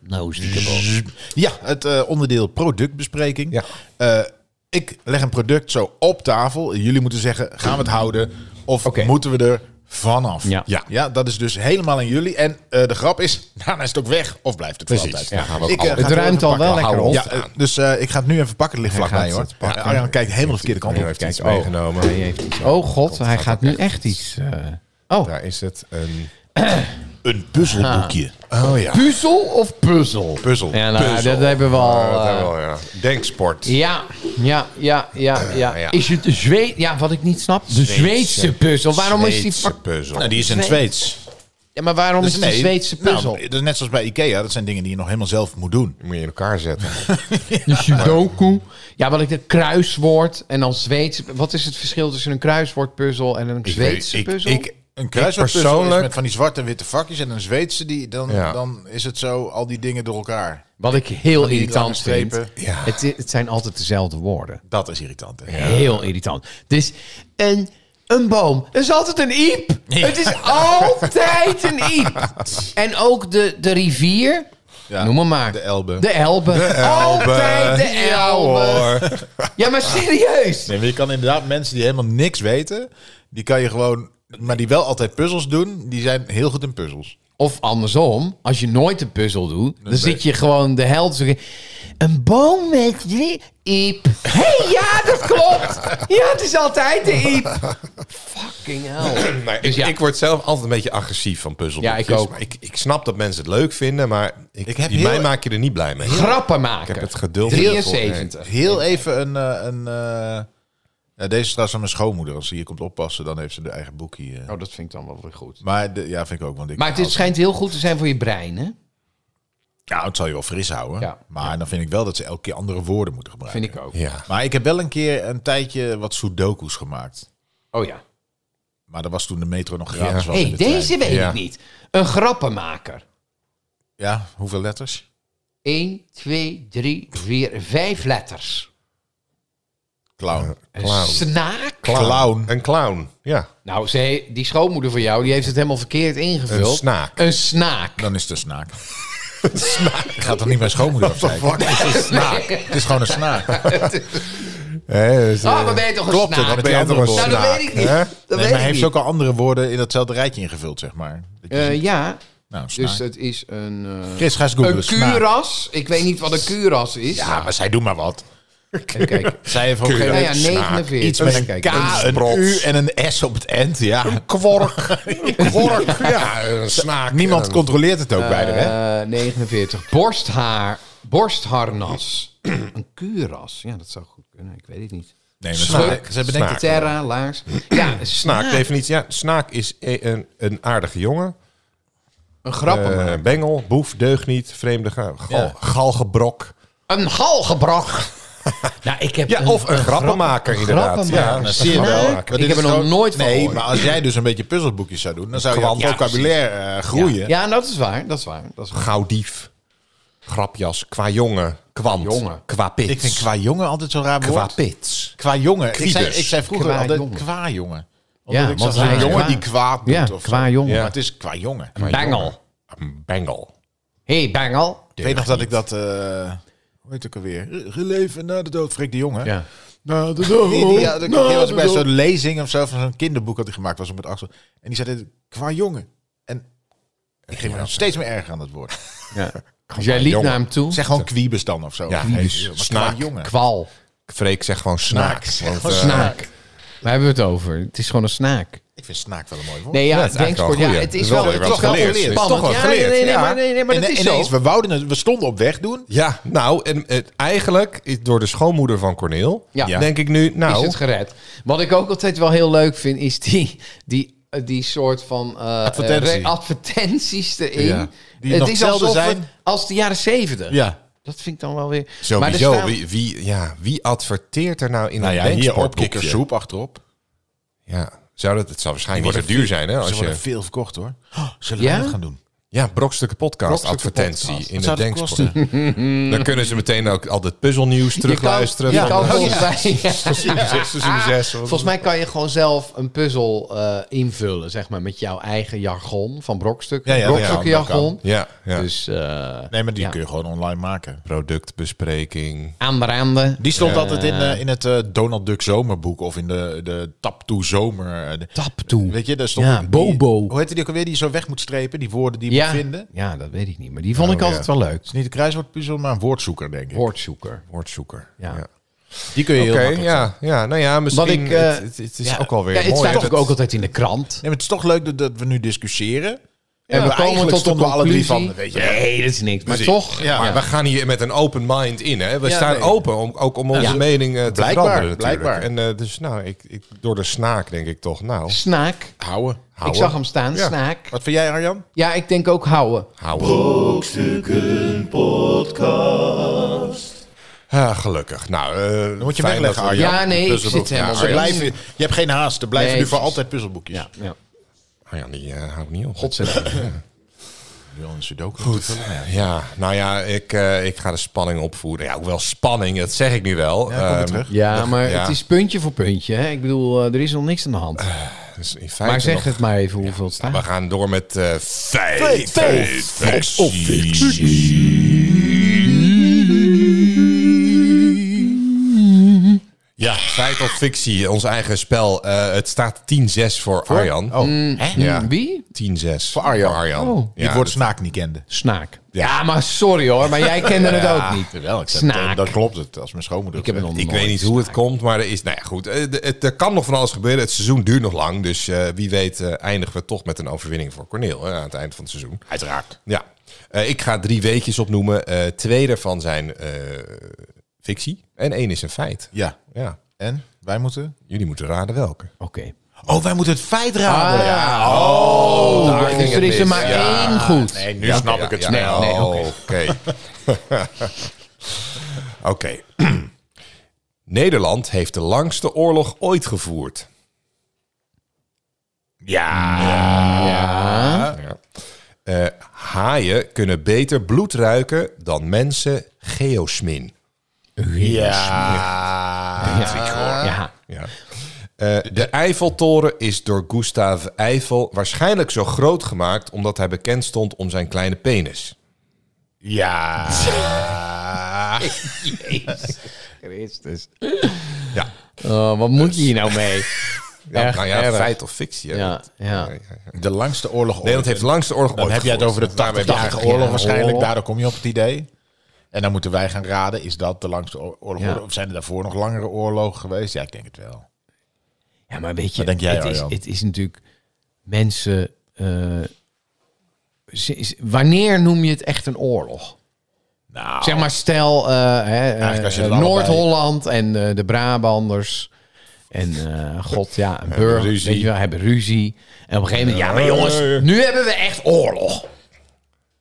Speaker 1: Nou is het kapot.
Speaker 3: Ja, het eh, onderdeel productbespreking.
Speaker 2: Ja.
Speaker 3: Eh, ik leg een product zo op tafel. Jullie moeten zeggen, gaan we het houden of
Speaker 5: Oké.
Speaker 3: moeten we er vanaf?
Speaker 5: Ja.
Speaker 3: Ja. dat is dus helemaal aan jullie. En eh, de grap is, daarna is het ook weg of blijft het voor
Speaker 2: Precies,
Speaker 3: altijd.
Speaker 2: dan gaan we ook
Speaker 3: Ik, eh,
Speaker 2: allemaal-
Speaker 3: ga
Speaker 5: Het ruimt
Speaker 3: even
Speaker 5: al wel
Speaker 3: pakken.
Speaker 5: lekker op.
Speaker 3: Ja, eh, dus eh, ik ga het nu even pakken. Het ligt vlakbij
Speaker 5: gaat
Speaker 3: hoor.
Speaker 5: het
Speaker 3: Ja, Arjan kijkt helemaal de verkeerde kant op.
Speaker 2: heeft iets
Speaker 5: Kijk, oh.
Speaker 2: meegenomen.
Speaker 5: Hij heeft iets. Oh god, hij
Speaker 2: gaat
Speaker 5: gaat
Speaker 2: ook
Speaker 5: nu
Speaker 2: echt
Speaker 5: echt iets. eh, oh,
Speaker 2: Daar is het. Een...
Speaker 3: Een puzzelboekje.
Speaker 2: Oh ja.
Speaker 5: puzzel of puzzel?
Speaker 3: Puzzel.
Speaker 5: Ja, nou, dat hebben we al.
Speaker 2: Oh, dat
Speaker 5: eh,
Speaker 2: wel, ja. Denksport.
Speaker 5: Ja, ja, ja, ja, ja.
Speaker 2: ja.
Speaker 5: Is het de Zweed? Ja, wat ik niet snap. De Zweedse, puzzel. Waarom is die...
Speaker 2: Zweedse
Speaker 5: fuck-
Speaker 2: puzzel?
Speaker 3: Nou, die is in
Speaker 5: Nee.
Speaker 3: Zweeds.
Speaker 5: Ja, maar waarom
Speaker 3: Dus
Speaker 5: is het
Speaker 3: nee,
Speaker 5: de Zweedse puzzel?
Speaker 3: Nou, dat is net zoals bij Ikea. Dat zijn dingen die je nog helemaal zelf moet doen.
Speaker 2: Die moet je in elkaar zetten.
Speaker 5: de Sudoku. Ja, wat ik de kruiswoord en dan Zweedse... Wat is het verschil tussen een kruiswoordpuzzel en een Zweedse
Speaker 2: ik,
Speaker 5: puzzel?
Speaker 2: Ik,
Speaker 3: Een kruiswoordpuzzel
Speaker 2: persoonlijk-
Speaker 3: is met van die zwarte en witte vakjes en een Zweedse die dan,
Speaker 2: Ja.
Speaker 3: dan is het zo al die dingen door elkaar.
Speaker 5: wat ik heel
Speaker 3: die lange
Speaker 5: irritant
Speaker 3: strepen.
Speaker 5: vind.
Speaker 2: Ja.
Speaker 5: Het, i- het zijn altijd dezelfde woorden.
Speaker 3: Dat is irritant. Hè?
Speaker 5: Heel irritant. Dus een, een boom. Er is altijd een iep. Het is altijd een iep. En ook de, de rivier.
Speaker 3: Ja,
Speaker 5: Noem maar maar.
Speaker 3: De Elbe.
Speaker 5: De Elbe. Altijd de
Speaker 2: Ja,
Speaker 5: Elbe.
Speaker 2: hoor.
Speaker 5: Ja, maar serieus.
Speaker 3: Nee, maar je kan inderdaad mensen die helemaal niks weten, die kan je gewoon, maar die wel altijd puzzels doen, die zijn heel goed in puzzels.
Speaker 5: Of andersom, als je nooit een puzzel doet, dan
Speaker 3: ben-
Speaker 5: zit je gewoon de held. zo- Een boom met drie iep. Hé, hey, ja, dat klopt. Ja, het is altijd de iep. Fucking hell.
Speaker 2: Maar ik,
Speaker 5: Dus ja.
Speaker 2: ik word zelf altijd een beetje agressief van puzzelboekjes.
Speaker 5: Ja, ik ook.
Speaker 2: Maar Ik, ik snap dat mensen het leuk vinden, maar ik,
Speaker 3: Ik heb
Speaker 2: die-
Speaker 3: heel-
Speaker 2: mij maak je er niet blij mee.
Speaker 5: Grappen
Speaker 2: Ik heb
Speaker 5: maken.
Speaker 2: het geduld. niet voor.
Speaker 5: 73.
Speaker 3: Heel even een, eh, een eh, ja, deze is trouwens aan mijn schoonmoeder. Als ze hier komt oppassen, dan heeft ze haar eigen boekje. eh.
Speaker 5: Oh, dat vind ik dan wel weer goed.
Speaker 3: Maar de- ja, vind ik ook. Want ik
Speaker 5: Maar het
Speaker 3: hou-
Speaker 5: is- schijnt heel goed te zijn voor je brein, hè?
Speaker 3: Ja, het zal je wel fris houden.
Speaker 5: Ja.
Speaker 3: Maar dan vind ik wel dat ze elke keer andere woorden moeten gebruiken.
Speaker 5: Vind ik ook.
Speaker 2: Nee. Ja.
Speaker 3: Maar ik heb wel een keer een tijdje wat sudoku's gemaakt.
Speaker 5: Oh ja.
Speaker 3: Maar dat was toen de metro nog gratis was.
Speaker 5: Hé,
Speaker 3: in
Speaker 5: hey,
Speaker 3: de trein.
Speaker 5: deze weet
Speaker 2: Ja.
Speaker 5: ik niet. Een grappenmaker.
Speaker 3: Ja, hoeveel letters?
Speaker 5: 1, 2, 3, 4, 5 letters.
Speaker 3: Clown.
Speaker 5: Een
Speaker 2: Clown.
Speaker 5: snaak.
Speaker 3: Clown.
Speaker 2: Een clown, ja.
Speaker 5: Nou, ze, he- die schoonmoeder van jou, die heeft het helemaal verkeerd
Speaker 2: Een
Speaker 5: ingevuld.
Speaker 2: snaak.
Speaker 5: Een snaak.
Speaker 3: Dan is het een snaak. snaak. Ik ga toch niet mijn schoonmoeder afzeiken. Het is een snaak. Het is gewoon een snaak. dus,
Speaker 5: Ah, maar ben je toch een
Speaker 3: Klopt het,
Speaker 5: snaak?
Speaker 3: dat ben je toch een
Speaker 5: nou, dat
Speaker 2: snaak,
Speaker 5: weet ik niet.
Speaker 2: hè?
Speaker 5: Dat
Speaker 3: Nee,
Speaker 5: weet
Speaker 3: maar
Speaker 5: ik
Speaker 3: hij heeft
Speaker 5: niet.
Speaker 3: ook al andere woorden in datzelfde rijtje ingevuld, zeg maar. Dat je
Speaker 5: Eh,
Speaker 3: ziet.
Speaker 5: ja,
Speaker 3: nou, een snaak.
Speaker 5: dus het is een... eh,
Speaker 3: Chris, ga eens
Speaker 5: een
Speaker 3: googlen. snaak.
Speaker 5: kuras. Ik weet niet wat een kuras is.
Speaker 3: Ja, maar zij doen maar wat.
Speaker 5: Even kijken.
Speaker 3: Zij heeft ook
Speaker 5: Nou
Speaker 3: geen...
Speaker 5: ja, 49.
Speaker 3: Iets met
Speaker 5: Even
Speaker 3: een K,
Speaker 5: kijken.
Speaker 3: een
Speaker 2: sprots.
Speaker 3: U en een S op het eind. Ja.
Speaker 2: Kwork. Kwork, ja, een snaak.
Speaker 3: Niemand
Speaker 2: En-
Speaker 3: controleert het ook bij de hè?
Speaker 5: Eh, 49. Borsthaar. Borstharnas. een kuras. Ja, dat zou goed kunnen. Ik weet het niet. Eh,
Speaker 3: Nee, maar
Speaker 2: Snaak.
Speaker 3: ze- ze bedenken
Speaker 2: Snaak.
Speaker 5: Terra, laars. Ja,
Speaker 2: Snaak,
Speaker 5: een snaak.
Speaker 2: definitie. Ja, snaak is e- een, een aardige jongen.
Speaker 5: Een grappenmaker.
Speaker 2: Eh, bengel, boef, deugniet, vreemde ga- gal,
Speaker 3: Ja.
Speaker 2: galgebrok.
Speaker 5: Een galgebrok. nou, ik heb
Speaker 2: Ja, of een, grappenmaker inderdaad.
Speaker 5: grappenmaker.
Speaker 2: Ja,
Speaker 3: Nou, zie je
Speaker 5: Smaak.
Speaker 3: wel.
Speaker 5: Ik
Speaker 3: Maar dit
Speaker 5: heb
Speaker 3: is
Speaker 5: er nog
Speaker 3: gewoon-
Speaker 5: nooit van
Speaker 3: Nee,
Speaker 5: gehoord.
Speaker 3: maar als jij dus een beetje puzzelboekjes zou doen, dan zou je
Speaker 2: Gewoon,
Speaker 3: het
Speaker 2: ja,
Speaker 3: vocabulaire eh, groeien.
Speaker 5: Ja, nou, dat is waar. Dat is waar. Dat is waar.
Speaker 2: Gauwdief, grapjas, qua jongen, kwant,
Speaker 5: Jongen.
Speaker 2: qua pits.
Speaker 3: Ik vind qua jongen altijd zo'n raar
Speaker 2: Qua
Speaker 3: woord.
Speaker 2: pits.
Speaker 3: Qua jongen. Ik
Speaker 2: Kriebus.
Speaker 3: zei, ik zei vroeger
Speaker 5: Qua
Speaker 3: altijd
Speaker 5: jongen.
Speaker 3: qua jongen.
Speaker 5: Ja,
Speaker 3: Omdat ik
Speaker 5: want
Speaker 3: zag
Speaker 5: hij
Speaker 3: een
Speaker 5: is
Speaker 3: jongen
Speaker 5: kwaad.
Speaker 3: die kwaad doet
Speaker 5: Ja,
Speaker 3: of zo.
Speaker 5: qua jongen.
Speaker 3: Maar het is qua jongen.
Speaker 5: Bengel.
Speaker 2: Een bengel.
Speaker 5: hey, bengel.
Speaker 3: Ik weet nog dat ik dat... eh, hoe heet het ook alweer? Re- Geleven na de dood, Freek de Jongen.
Speaker 5: Ja.
Speaker 3: Na de dood. Die, die, had ik- die was bij zo'n lezing of zo van zo'n kinderboek dat hij gemaakt was op het Axel. En die zei dit, qua jongen. En ik ging me nog steeds meer erger aan dat woord.
Speaker 5: ja. Dus jij liep
Speaker 2: jongen.
Speaker 5: naar hem toe.
Speaker 3: Zeg gewoon kwiebes dan of zo.
Speaker 2: Ja,
Speaker 3: Kwiebes.
Speaker 2: kwiebes.
Speaker 3: Maar qua
Speaker 2: Snaak.
Speaker 3: jongen.
Speaker 5: Kwal.
Speaker 2: Freek zegt gewoon snaak.
Speaker 3: Snaak.
Speaker 2: want,
Speaker 3: Gewoon
Speaker 2: eh,
Speaker 5: Snaak. Waar hebben we het over? Het is gewoon een snaak.
Speaker 3: Ik vind snaak wel een mooi woord.
Speaker 5: Nee, ja,
Speaker 2: Ja,
Speaker 5: het
Speaker 2: het is eigenlijk wel
Speaker 5: denksport.
Speaker 2: een
Speaker 5: Ja,
Speaker 2: goeie.
Speaker 5: het
Speaker 2: Het
Speaker 5: is
Speaker 2: is
Speaker 5: wel,
Speaker 2: wel
Speaker 5: het
Speaker 2: weer
Speaker 5: is
Speaker 2: wat
Speaker 5: wel
Speaker 2: geleerd. Het is
Speaker 5: spannend.
Speaker 2: toch wel
Speaker 5: Ja, nee, nee, nee,
Speaker 2: geleerd, ja. e-
Speaker 5: maar, nee, nee, maar
Speaker 3: En-
Speaker 5: dat is
Speaker 3: ineens,
Speaker 5: zo.
Speaker 3: we, wouden het, we stonden op weg doen.
Speaker 2: Ja, nou, en het, eigenlijk is door de schoonmoeder van Corneel,
Speaker 5: Ja.
Speaker 2: denk ik nu,
Speaker 5: Is
Speaker 2: nou,
Speaker 5: het gered. Wat ik ook altijd wel heel leuk vind, is die, die, eh, die soort van eh,
Speaker 3: Advertentie.
Speaker 5: eh, re- advertenties erin.
Speaker 3: Ja. Die
Speaker 5: het
Speaker 3: nog
Speaker 5: is
Speaker 3: zelden
Speaker 5: alsof
Speaker 3: zijn.
Speaker 5: het- als de jaren zeventig.
Speaker 3: Ja.
Speaker 5: Dat vind ik dan wel weer... Maar er
Speaker 2: sowieso,
Speaker 5: staan-
Speaker 2: wie, wie, ja, wie adverteert er nou in
Speaker 3: Nou
Speaker 2: een
Speaker 3: ja, hier op
Speaker 2: denksportboekje?
Speaker 3: kikkersoep achterop.
Speaker 2: Ja, zou dat, het zou waarschijnlijk
Speaker 3: Die
Speaker 2: niet zo duur zijn, hè?
Speaker 3: Ze
Speaker 2: Als
Speaker 3: worden
Speaker 2: je,
Speaker 3: veel verkocht hoor. Oh, zullen we
Speaker 5: Ja?
Speaker 3: dat gaan doen?
Speaker 2: Ja, Brokstukken Podcast
Speaker 3: Brokstukken
Speaker 2: advertentie
Speaker 3: Podcast.
Speaker 2: in
Speaker 3: Wat
Speaker 2: de
Speaker 3: zou dat
Speaker 2: Denksport. Dan kunnen ze meteen ook al het puzzelnieuws terugluisteren.
Speaker 5: Hmm. Je kan, je
Speaker 2: van,
Speaker 5: kan
Speaker 3: Oh,
Speaker 2: eh,
Speaker 5: volgens, mij, Ah,
Speaker 2: seizoen zes, seizoen zes, of-
Speaker 5: volgens mij kan je gewoon zelf een puzzel eh, invullen, zeg maar, met jouw eigen jargon van brokstukken.
Speaker 3: Ja, ja,
Speaker 5: brokstukken
Speaker 3: ja, dat
Speaker 5: jargon.
Speaker 2: Ja, ja.
Speaker 5: Dus eh
Speaker 3: Nee, maar die
Speaker 5: Ja.
Speaker 3: kun je gewoon online maken.
Speaker 2: productbespreking.
Speaker 5: aan de randen.
Speaker 3: Die stond
Speaker 5: Ja.
Speaker 3: altijd in, eh, in het eh, Donald Duck zomerboek of in de, de Tap to Zomer. eh, de-
Speaker 5: Tap toe.
Speaker 3: Weet je, daar stond
Speaker 5: Hm. Ja,
Speaker 3: die-
Speaker 5: Bobo.
Speaker 3: Hoe heette die ook alweer die zo weg moet strepen, die woorden die je
Speaker 5: Ja,
Speaker 3: moet vinden? Het
Speaker 5: ja, dat weet ik niet. Maar die vond ik
Speaker 2: ja.
Speaker 5: altijd wel leuk.
Speaker 3: is niet een kruiswoordpuzzel, maar een woordzoeker, denk Oh, ik.
Speaker 5: Woordzoeker.
Speaker 2: Woordzoeker.
Speaker 5: Ja.
Speaker 3: Die kun je
Speaker 2: Oké,
Speaker 3: heel makkelijk
Speaker 2: ja, ja. Nou ja, misschien...
Speaker 5: Wat ik, eh,
Speaker 2: het, het- het is ook alweer
Speaker 5: ja,
Speaker 2: mooi.
Speaker 5: het staat
Speaker 2: dat-
Speaker 5: ook, ook altijd in de krant.
Speaker 3: Nee, maar het is toch leuk dat, dat we nu discussiëren.
Speaker 5: En we komen tot de
Speaker 3: stonden we alle drie van,
Speaker 5: conclusie.
Speaker 3: weet je.
Speaker 5: Nee, dat is niks. Maar
Speaker 2: Precies.
Speaker 5: toch.
Speaker 3: Ja,
Speaker 2: Maar we gaan hier met een open mind in. Hè? We
Speaker 3: Ja,
Speaker 2: staan
Speaker 3: nee.
Speaker 2: open om, ook om onze
Speaker 5: Ja.
Speaker 2: mening eh, te
Speaker 3: Blijkbaar,
Speaker 2: veranderen natuurlijk.
Speaker 3: blijkbaar.
Speaker 2: En eh, dus nou, ik, ik, door de snaak denk ik toch. Nou,
Speaker 5: Snaak.
Speaker 3: Houden.
Speaker 5: Ik
Speaker 2: houden.
Speaker 5: zag hem staan,
Speaker 2: Ja.
Speaker 5: snaak.
Speaker 3: Wat vind jij, Arjan?
Speaker 5: Ja, ik denk ook houden.
Speaker 2: houden. Ah, gelukkig. Nou, eh, Dan
Speaker 3: moet je wegleggen, Arjan.
Speaker 5: Ja, nee, ik zit helemaal
Speaker 3: Ze
Speaker 5: Arjan.
Speaker 3: blijven, je hebt geen haast. Er blijven
Speaker 5: Nee,
Speaker 3: nu voor
Speaker 5: precies.
Speaker 3: altijd puzzelboekjes.
Speaker 5: Ja, ja.
Speaker 2: Arjan, die eh, houdt niet op.
Speaker 3: Wil een sudoku. Goed.
Speaker 2: Ja, nou ja, ik, eh, ik ga de spanning opvoeren. Ja, hoewel spanning, dat zeg ik nu wel.
Speaker 3: kom weer
Speaker 2: Ehm,
Speaker 3: terug.
Speaker 5: ja maar
Speaker 2: ja.
Speaker 5: het is puntje voor puntje. Hè? Ik bedoel, eh, er is nog niks aan de hand.
Speaker 2: dus in feite
Speaker 5: Maar zeg
Speaker 2: nog-
Speaker 5: het maar even hoeveel het
Speaker 2: We
Speaker 5: staat.
Speaker 2: gaan door met eh feit, of Ja, feit of fictie, ons eigen spel. Eh, het staat 10-6 voor Arjan. Hm?
Speaker 3: Oh,
Speaker 2: Ja.
Speaker 5: Hm, Hmm, Wie?
Speaker 2: 10-6 voor
Speaker 3: Arjan.
Speaker 2: Ja,
Speaker 3: die het woord snaak niet kende.
Speaker 5: Snaak. Ja. maar sorry hoor, maar jij kende het ook niet.
Speaker 3: Terwijl ik
Speaker 5: Snaak.
Speaker 3: Dat klopt het, als mijn schoonmoeder
Speaker 5: Ik heb het nog
Speaker 2: Ik
Speaker 5: nooit
Speaker 2: weet niet hoe het
Speaker 5: snaak.
Speaker 2: komt, maar er is. Nou ja, goed. eh, de- Het, er kan nog van alles gebeuren. Het seizoen duurt nog lang. Dus eh, wie weet, eh, eindigen we toch met een overwinning voor Corneel hè, aan het eind van het seizoen.
Speaker 3: Uiteraard.
Speaker 2: Ja. Eh, ik ga drie weetjes opnoemen. Eh, twee daarvan zijn eh, fictie. En één is een feit.
Speaker 3: Ja.
Speaker 2: Ja.
Speaker 3: En? Wij moeten?
Speaker 2: Jullie moeten raden welke.
Speaker 5: Oké.
Speaker 3: Oh, wij moeten het feit raden.
Speaker 5: Ah,
Speaker 3: Ja.
Speaker 5: Oh,
Speaker 2: daar ging
Speaker 5: dus er
Speaker 2: het
Speaker 5: is er
Speaker 2: mis.
Speaker 5: maar
Speaker 2: Ja.
Speaker 5: één goed.
Speaker 3: Nee, nu
Speaker 2: Ja,
Speaker 3: snap
Speaker 2: ja,
Speaker 3: ik het
Speaker 2: ja.
Speaker 3: snel. Oh,
Speaker 5: Nee, nee, oké.
Speaker 2: oké. Oké. Nederland heeft de langste oorlog ooit gevoerd.
Speaker 3: Ja.
Speaker 5: Ja.
Speaker 2: Eh, haaien kunnen beter bloed ruiken dan mensen geosmin.
Speaker 3: Ja.
Speaker 5: Ja. Ja.
Speaker 2: Ja. Eh, de Eiffeltoren is door Gustav Eiffel waarschijnlijk zo groot gemaakt omdat hij bekend stond om zijn kleine penis.
Speaker 3: Ja.
Speaker 5: Christus.
Speaker 2: Ja,
Speaker 5: Oh, wat moet je hier nou mee?
Speaker 2: ja
Speaker 5: Echt
Speaker 2: nou ja,
Speaker 5: erg.
Speaker 2: feit of fictie. hè?
Speaker 5: Ja, ja.
Speaker 3: De langste oorlog ooit.
Speaker 2: Nederland heeft de langste oorlog
Speaker 3: Dan
Speaker 2: ooit
Speaker 3: heb je het over
Speaker 2: gevoerd.
Speaker 3: de 80-jarige
Speaker 5: oorlog
Speaker 3: oorlog waarschijnlijk.
Speaker 5: oorlog.
Speaker 3: Daardoor kom je op het idee. En dan moeten wij gaan raden, is dat de langste oor- oorlog?
Speaker 5: Ja.
Speaker 3: Of zijn er daarvoor nog langere oorlogen geweest? Ja, ik denk het wel.
Speaker 5: Ja, maar weet je,
Speaker 3: Wat denk jij,
Speaker 5: het, is,
Speaker 3: Arjan?
Speaker 5: het is natuurlijk mensen. eh, ze- is- wanneer noem je het echt een oorlog?
Speaker 3: Nou,
Speaker 5: Zeg maar, stel eh, hè, eh,
Speaker 3: Eigenlijk als je het allebei-
Speaker 5: Noord-Holland en eh, de Brabanders. En eh, god ja, een burger.
Speaker 2: ruzie.
Speaker 5: Weet je wel, hebben ruzie. En op een gegeven moment, ja, maar jongens, nu hebben we echt oorlog.